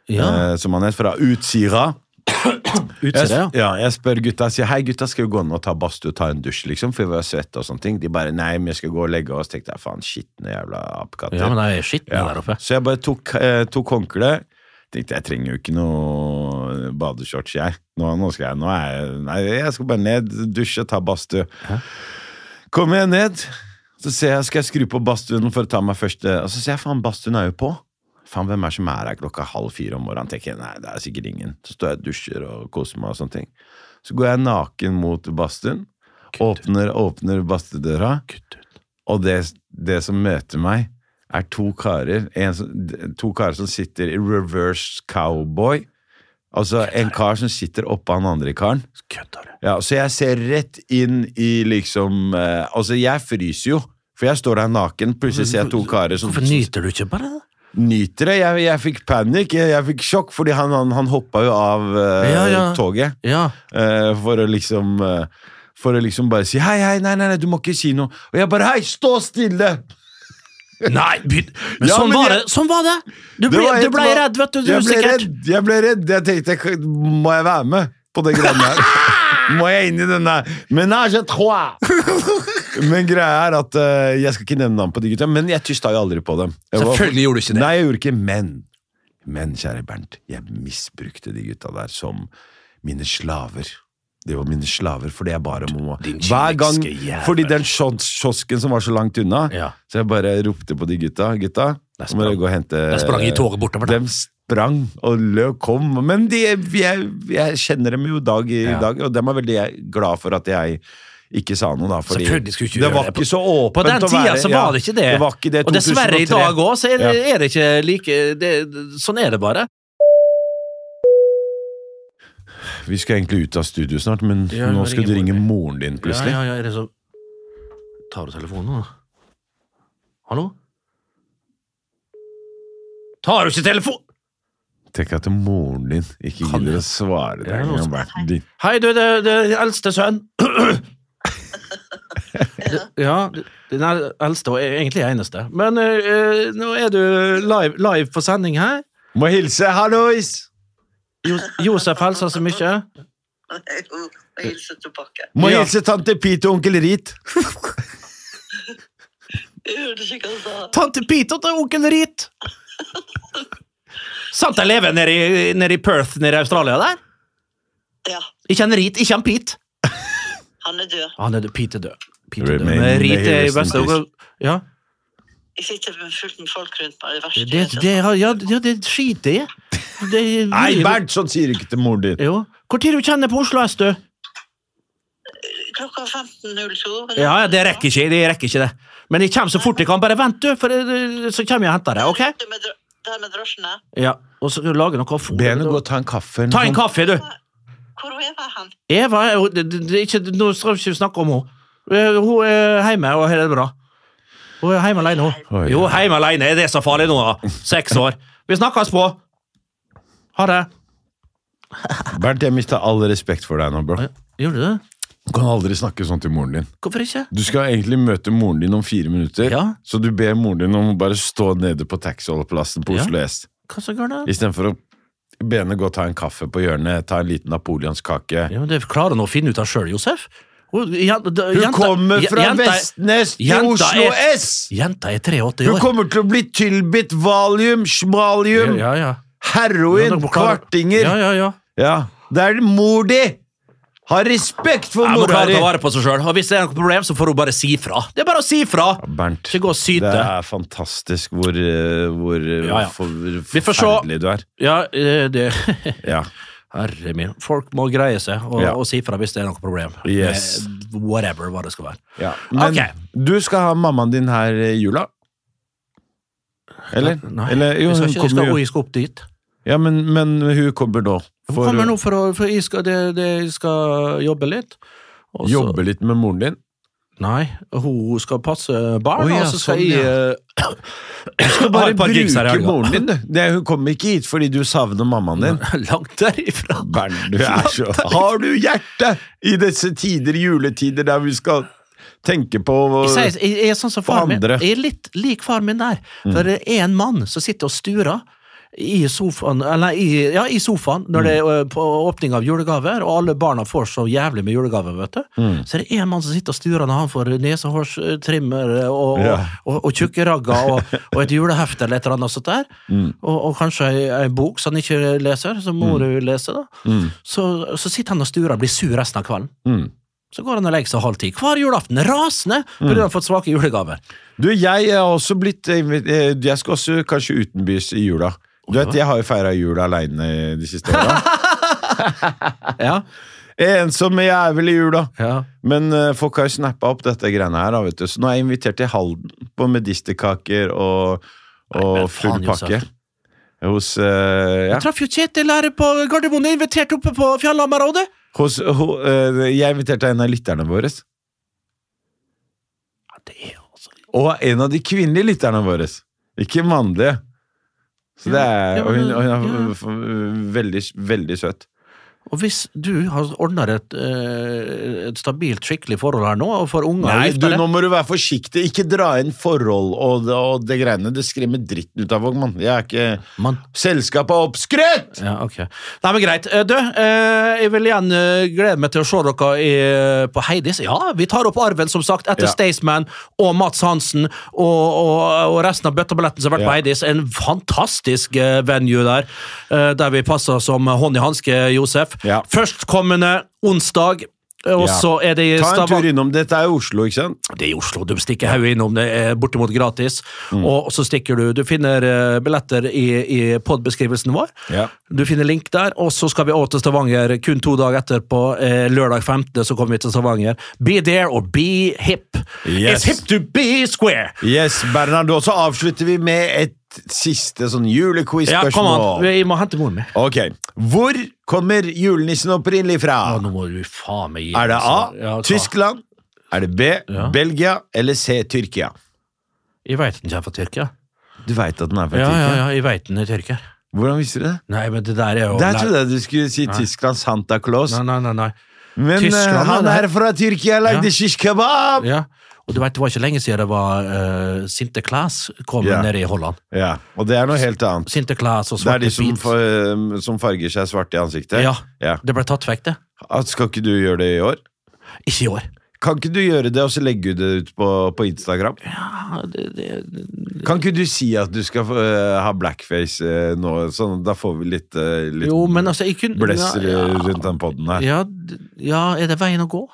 D: Ja,
C: eh, som han het, fra Utsira.
D: Utsida, ja.
C: Jeg, ja, jeg spør gutta, jeg sier hei gutta, skal vi gå ned og ta badstue og ta en dusj, liksom, for vi var svette og sånne ting. De bare nei, men jeg skal gå og legge oss. Tenkte jeg faen, skitne jævla apekatter.
D: Ja, men det er skitne
C: Ja.
D: der oppe.
C: Så jeg bare tok, eh, tok håndkle. Tenkte jeg trenger jo ikke noe badeshorts, jeg. Nå, nå skal jeg, nå er jeg, nei, jeg skal bare ned, dusje, ta badstue. Kommer jeg ned, så ser jeg, skal jeg skru på badstuen for å ta meg først eh, Og så ser jeg, faen, badstuen er jo på. Faen, hvem er det som er her klokka halv fire om morgenen? Tenker jeg, nei, det er sikkert ingen. Så står jeg og dusjer og koser meg og sånne ting. Så går jeg naken mot badstuen, åpner, åpner badstuedøra. Og det, det som møter meg, er to karer, en, som- d- to karer som sitter i reverse cowboy. Altså en kar som sitter oppå han andre karen.
D: Kødder du?
C: Ja, så jeg ser rett inn i liksom eh, Altså, jeg fryser jo, for jeg står der naken. Plutselig ser jeg to karer som,
D: Hvorfor
C: som
D: nyter du ikke bare det?
C: nyter det. Jeg, jeg fikk panikk, jeg, jeg fikk sjokk, fordi han, han, han hoppa jo av eh,
D: Ja, ja.
C: toget.
D: Ja.
C: Eh, for å liksom eh, For å liksom bare si hei, hei, nei, nei, nei, du må ikke si noe. Og jeg bare hei, stå stille!
D: Nei, begynn Men
C: Ja,
D: sånn
C: men
D: var det!
C: jeg-
D: Sånn var det! Du ble,
C: Det var
D: du
C: helt
D: ble
C: va-
D: redd, vet du. du
C: jeg ble
D: sikkert.
C: redd, jeg ble redd. Jeg tenkte, "K- må jeg være med på det greiene her? må jeg inn i denne menage à trois? men greia er at eh, jeg skal ikke nevne navn på de gutta, men jeg tysta jo aldri på dem. Jeg var-
D: Selvfølgelig gjorde du ikke det.
C: Nei, jeg gjorde ikke men. Men, kjære Bernt, jeg misbrukte de gutta der som mine slaver. De var mine slaver, fordi jeg bare må Hver gang,
D: kyniske jævel.
C: Fordi den kios- kiosken som var så langt unna,
D: Ja.
C: så jeg bare ropte på de gutta. Gutta,
D: Der
C: nå må dere
D: sprang-
C: gå og hente
D: Jeg sprang i toget bortover. da.
C: de sprang og løp kom, men de, jeg, jeg kjenner dem jo dag i
D: Ja.
C: dag, og dem er veldig glad for at jeg ikke sa noe, da. Fordi
D: Selvfølgelig skulle du ikke
C: det
D: gjøre
C: var
D: det.
C: ikke så åpent
D: På den
C: å
D: tida
C: være-
D: så
C: ja,
D: var det ikke det.
C: det var ikke det.
D: Og dessverre i
C: 2003.
D: dag òg, så er det,
C: Ja.
D: er det ikke like det, Sånn er det bare.
C: Vi skal egentlig ut av studio snart, men
D: Ja, jeg
C: nå skal
D: ringer
C: du ringe
D: moren
C: moren din plutselig.
D: Ja, ja, ja, er det så Tar du telefonen nå? Hallo? Tar du ikke telefon...
C: Tenk at moren din ikke
D: Kan
C: gidder
D: jeg?
C: å svare deg
D: Ja,
C: engang,
D: også-
C: Bernt. Din-
D: Hei, du, det er din eldste sønn. ja, din el- eldste og egentlig eneste. Men eh, eh, nå er du live, live på sending her.
C: Må hilse, hallois!
D: Jo, Josef hilser så mye.
F: Jo, og hilse tilbake.
C: Må
D: Ja.
C: hilse tante Pete og onkel Rit.
F: Jeg hørte ikke hva han sa.
D: Tante Pete og til onkel Rit. Sant jeg lever nede i, nede i Perth nede i Australia der?
F: Ja,
D: Ikke en Rit, ikke en Pete.
F: han er død.
D: Han er død. Pete er død. Pete er død.
C: Remain-
D: Men Rit er
C: rest
D: i
C: in
D: beste
C: peace.
D: Ja,
F: Jeg sitter med fullt med folk rundt meg. Det verste
D: det, det, det, ja, det, det skiter jeg i. Det-
C: Nei, Bernt, sånn sier du ikke til moren din.
D: Jo. Hvor tid du kjenner på Oslo S, du?
F: Klokka er 15.02. men-
D: Ja, ja, det rekker ikke, det rekker ikke det. Men jeg kommer så fort jeg kan. Bare vent, du, for eh, så kommer jeg og henter deg. ok?
F: Det med dr- Det her med drosjene.
D: Ja, Og så lage noe fôr.
C: Be henne gå og ta en kaffe. eller sånn.
D: Ta
C: noe
D: en
C: sånt.
D: kaffe, du.
F: Hvor er jeg hen?
D: Eva er jo- det, det, det, er ikke, Nå skal vi ikke snakke om henne. Eh, Hun er hjemme og har det bra. Hun er hjemme alene, hun.
C: Oi.
D: Jo, hjemme alene. Er det så farlig nå, da? Seks år. Vi snakkes på. Ha det.
C: Bernt, jeg mista all respekt for deg nå, bro.
D: Gjorde Eh, du det?
C: Du kan aldri snakke sånn til moren din.
D: Hvorfor ikke?
C: Du skal egentlig møte moren din om fire minutter,
D: Ja.
C: så du ber moren din om å bare stå nede på taxiholdeplassen på
D: Ja.
C: Oslo S,
D: Hva så gærent?
C: istedenfor å be henne gå og ta en kaffe på hjørnet, ta en liten napoleonskake.
D: Ja, men det klarer hun å finne ut av sjøl, Josef. Hun, jen- d-
C: Hun
D: jenta-
C: kommer
D: j-
C: fra
D: jenta er-
C: Vestnes til
D: jenta
C: Oslo
D: er-
C: S!
D: Jenta er 83
C: Hun
D: år.
C: kommer til å bli tilbudt valium, smalium,
D: Ja, ja.
C: heroin,
D: Ja, da klarer-
C: kvartinger.
D: Ja, ja, ja.
C: Ja, det er mor di! Ha respekt for
D: Jeg må
C: mora
D: klare å
C: di!
D: ta vare på seg sjøl. Og hvis det er noe problem, så får hun bare si fra. Det er bare å si fra!
C: Bernt,
D: Ikke gå og syte.
C: det er fantastisk hvor, eh, hvor eh,
D: Ja, ja.
C: for-
D: Vi får se.
C: forferdelig du er.
D: Ja, eh, det
C: Ja.
D: Herre min. Folk må greie seg og,
C: Ja.
D: og si fra hvis det er noe problem.
C: Yes.
D: Med Whatever hva det skal være.
C: Ja. Men
D: Ok.
C: du skal ha mammaen din her i jula? Eller?
D: Nei,
C: Eller jo,
D: jeg skal,
C: hun
D: ikke, jeg skal,
C: kommer jo.
D: jeg skal opp dit.
C: Ja, men, men hun kommer nå.
D: Hun
C: For
D: kommer nå
C: å
D: for å for jeg skal, det, det, jeg skal jobbe litt. Og så-
C: jobbe litt med moren din.
D: Nei, hun skal passe barn,
C: Å, ja,
D: og så skal
C: sånn,
D: jeg eh,
C: Du
D: har
C: bare
D: et par gigs her i
C: bruke
D: helga.
C: moren din, du. Det, hun kommer ikke hit fordi du savner mammaen din.
D: Langt derifra.
C: Bernt, du er så Har du hjerte i disse tider, juletider, der vi skal tenke på
D: Jeg, sier, jeg, jeg er sånn som far min.
C: andre.
D: Jeg er litt lik far min der.
C: Mm.
D: For det er en mann som sitter og sturer i sofaen, eller i, ja, i sofaen når det
C: Mm.
D: er ø, på åpning av julegaver, og alle barna får så jævlig med julegaver, vet du.
C: Mm.
D: Så er det en mann som sitter og sturer når han får nesehårstrimmer eh, og,
C: Ja.
D: og, og, og tjukke ragger og, og et julehefte eller et eller annet sånt der.
C: Mm.
D: Og, og kanskje ei, ei bok som han ikke leser, som mor
C: Mm.
D: leser, da. Så, så sitter han og sturer og blir sur resten av kvelden.
C: Mm.
D: Så går han og legger seg halv ti hver julaften, rasende fordi han har fått svake julegaver.
C: Du, jeg er også blitt eh, invi- eh, Jeg skal også kanskje utenbys i jula. Du vet, Jeg har jo feira jul aleine de siste åra.
D: Ja.
C: Ensom er jævel i jula. Men eh, folk har jo snappa opp dette greiene her, da, vet du. Så nå er jeg invitert til Halden på medisterkaker og, og
D: men
C: full
D: faen,
C: pakke.
D: Josef.
C: Hos, eh, ja.
D: Traff jo Kjetil her på Gardermoen, invitert oppe på Fjellhammerrådet.
C: Hos, ho, eh, jeg inviterte en av lytterne våre.
D: Ja, det er altså
C: Og en av de kvinnelige lytterne våre. Ikke mannlige. Så det er,
D: Ja,
C: og hun, og hun er
D: ja.
C: f- f- veldig, veldig søt.
D: Og hvis du har ordner et, eh, et stabilt, skikkelig forhold her nå, og får unger
C: Nei,
D: og
C: du,
D: gifter deg-
C: nå må du være forsiktig. Ikke dra inn forhold og, det- og det greiene. Det skremmer dritten ut av folk, mann. Jeg er ikke
D: Mann.
C: Selskapet er oppskrytt!
D: Ja, ok. Nei, men greit. Eh, Du, eh, jeg vil igjen eh, glede meg til å se dere i, eh, på Heidis. Ja, vi tar opp arven, som sagt, etter
C: Ja.
D: Staysman og Mats Hansen og, og, og resten av bøtteballetten som har vært
C: Ja.
D: på Heidis. En fantastisk eh, venue der, eh, der vi passer som hånd i hanske, Josef.
C: Ja.
D: Førstkommende onsdag. eh, Og
C: Ja.
D: så er det i
C: Ta en tur
D: Stavanger
C: innom. Dette er jo Oslo, ikke sant?
D: Det er i Oslo. Du stikker hodet innom, det er bortimot gratis. Og så stikker du Du finner eh, billetter i, i podbeskrivelsen vår.
C: Ja.
D: Du finner link der, og så skal vi over til Stavanger kun to dager etterpå. Eh, lørdag 15. så kommer vi til Stavanger. Be there or be hip. It's
C: Yes.
D: hip to be square!
C: Yes, Bernhard. Og så avslutter vi med et siste sånn
D: Ja, kom an.
C: julequiz-spørsmål.
D: Vi må hente moren min.
C: Ok. Hvor kommer julenissen opprinnelig fra?
D: Ja, nå må du faen meg gi
C: Er det A.
D: altså. Ja, hva?
C: Tyskland? Er det B.
D: Ja.
C: Belgia? Eller C. Tyrkia?
D: Jeg veit den kommer fra Tyrkia.
C: Du veit at den er fra
D: Ja, ja,
C: Tyrkia?
D: ja, jeg vet den er tyrker.
C: Hvordan visste du det?
D: Nei, men det der er jo
C: Der trodde jeg du skulle si Tyskland Santa Claus.
D: Nei, nei, nei. nei.
C: Men eh,
D: Tyskland,
C: han
D: ja, det-
C: er fra Tyrkia, lagde
D: Ja.
C: shish kebab!
D: Ja. Og du vet, det var ikke lenge siden det var uh, Sinte Claes kom
C: Ja.
D: nede i Holland.
C: Ja, og det er noe helt annet.
D: Sinte Claes og
C: Det er
D: Svarte
C: de som,
D: Beats.
C: fa- eh, som farger seg svart i ansiktet?
D: Ja.
C: ja.
D: Det ble tatt vekk, det.
C: Ah, Skal ikke du gjøre det i år?
D: Ikke i år.
C: Kan ikke du gjøre det, og så legge det ut på, på Instagram?
D: Ja, det, det,
C: Kan ikke du si at du skal eh, ha blackface eh, nå, sånn da får vi litt, uh, litt
D: Jo, men altså, jeg kunne
C: blesser
D: ja,
C: eh, rundt den podden her?
D: ja, d- ja, er det veien å gå?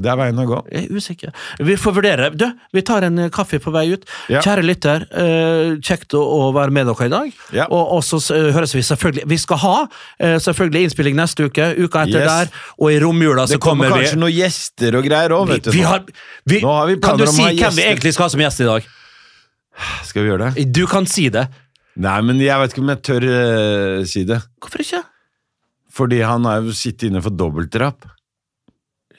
C: Det er veien å gå.
D: Jeg er usikker. Vi får vurdere. Du, vi tar en eh, kaffe på vei ut.
C: Ja.
D: Kjære lytter, eh, kjekt å, å være med dere i dag.
C: Ja.
D: Og, og så s- eh, høres vi selvfølgelig Vi skal ha eh, selvfølgelig innspilling neste uke, uka etter
C: Yes.
D: der, og i romjula så
C: Det
D: Altså, kommer
C: kommer kanskje
D: vi.
C: noen gjester og greier òg,
D: Vi,
C: vet du.
D: vi
C: nå.
D: har, vi,
C: Nå har vi
D: kan
C: planer
D: du
C: om å
D: si
C: ha
D: hvem vi
C: gjester.
D: egentlig skal ha som gjest i dag?
C: Skal vi gjøre det?
D: Du kan si det.
C: Nei, men jeg vet ikke om jeg tør eh, si det.
D: Hvorfor ikke?
C: Fordi han har jo sittet inne for dobbeltdrap.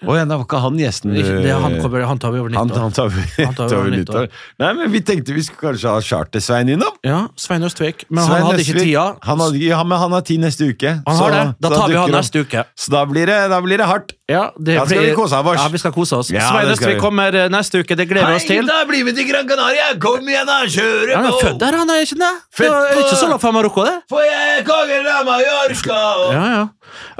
C: Å ja, det var ikke han gjesten
D: Ikke- Det, han,
C: eh,
D: kommer, han tar vi over
C: han,
D: nyttår.
C: han tar vi
D: Han tar vi
C: tar
D: over
C: vi
D: nyttår.
C: nyttår. Nei, men vi tenkte vi skulle kanskje ha Charter-Svein innom.
D: Ja, Svein Østvik. Men
C: Svein
D: han hadde ikke
C: Østvik,
D: tida.
C: Han hadde, ja, men han har tid neste uke.
D: Han har det.
C: så-
D: Da
C: så
D: tar vi han
C: dukker opp.
D: neste uke.
C: Så da blir det, da blir det hardt.
D: Ja, det
C: Da skal
D: blir-
C: vi kose av oss.
D: Ja, vi skal kose oss.
C: Ja,
D: Svein
C: det skal
D: Østvik
C: vi.
D: kommer eh, neste uke, det gleder vi oss til.
C: da blir vi til Gran Canaria! Kom igjen, da! Kjøre
D: Han er født der, han er ikke det? Det
C: Født
D: er
C: på-
D: ikke så langt fra Marokko, det.
C: For jeg er kongen av Mallorca!
D: Ja, ja.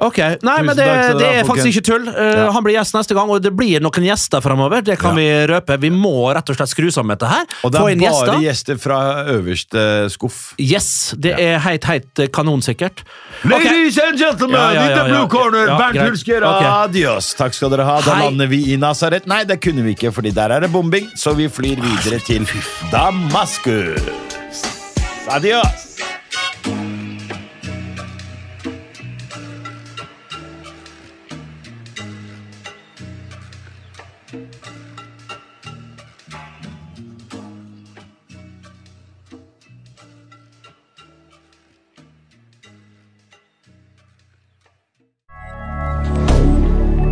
D: Ok, Nei, men det,
C: takk skal dere
D: det
C: ha,
D: er faktisk
C: folkens.
D: ikke tull. Eh,
C: Ja.
D: Han blir gjest neste gang, og det blir noen gjester framover. Det kan vi røpe. Vi må rett og slett skru sammen dette her.
C: Og det
D: Få
C: er
D: inn
C: bare
D: gjester.
C: gjester fra øverste skuff.
D: Yes, det er heit, heit kanonsikkert. Ok.
C: and gentlemen,
D: Ja, ja, ja, ja. Ja, greit. Ok.
C: adios. Takk skal dere ha. Da
D: Hei.
C: lander vi i Nazaret. Nei, det kunne vi ikke, fordi der er det bombing. Så vi flyr videre til Damaskus. Adios.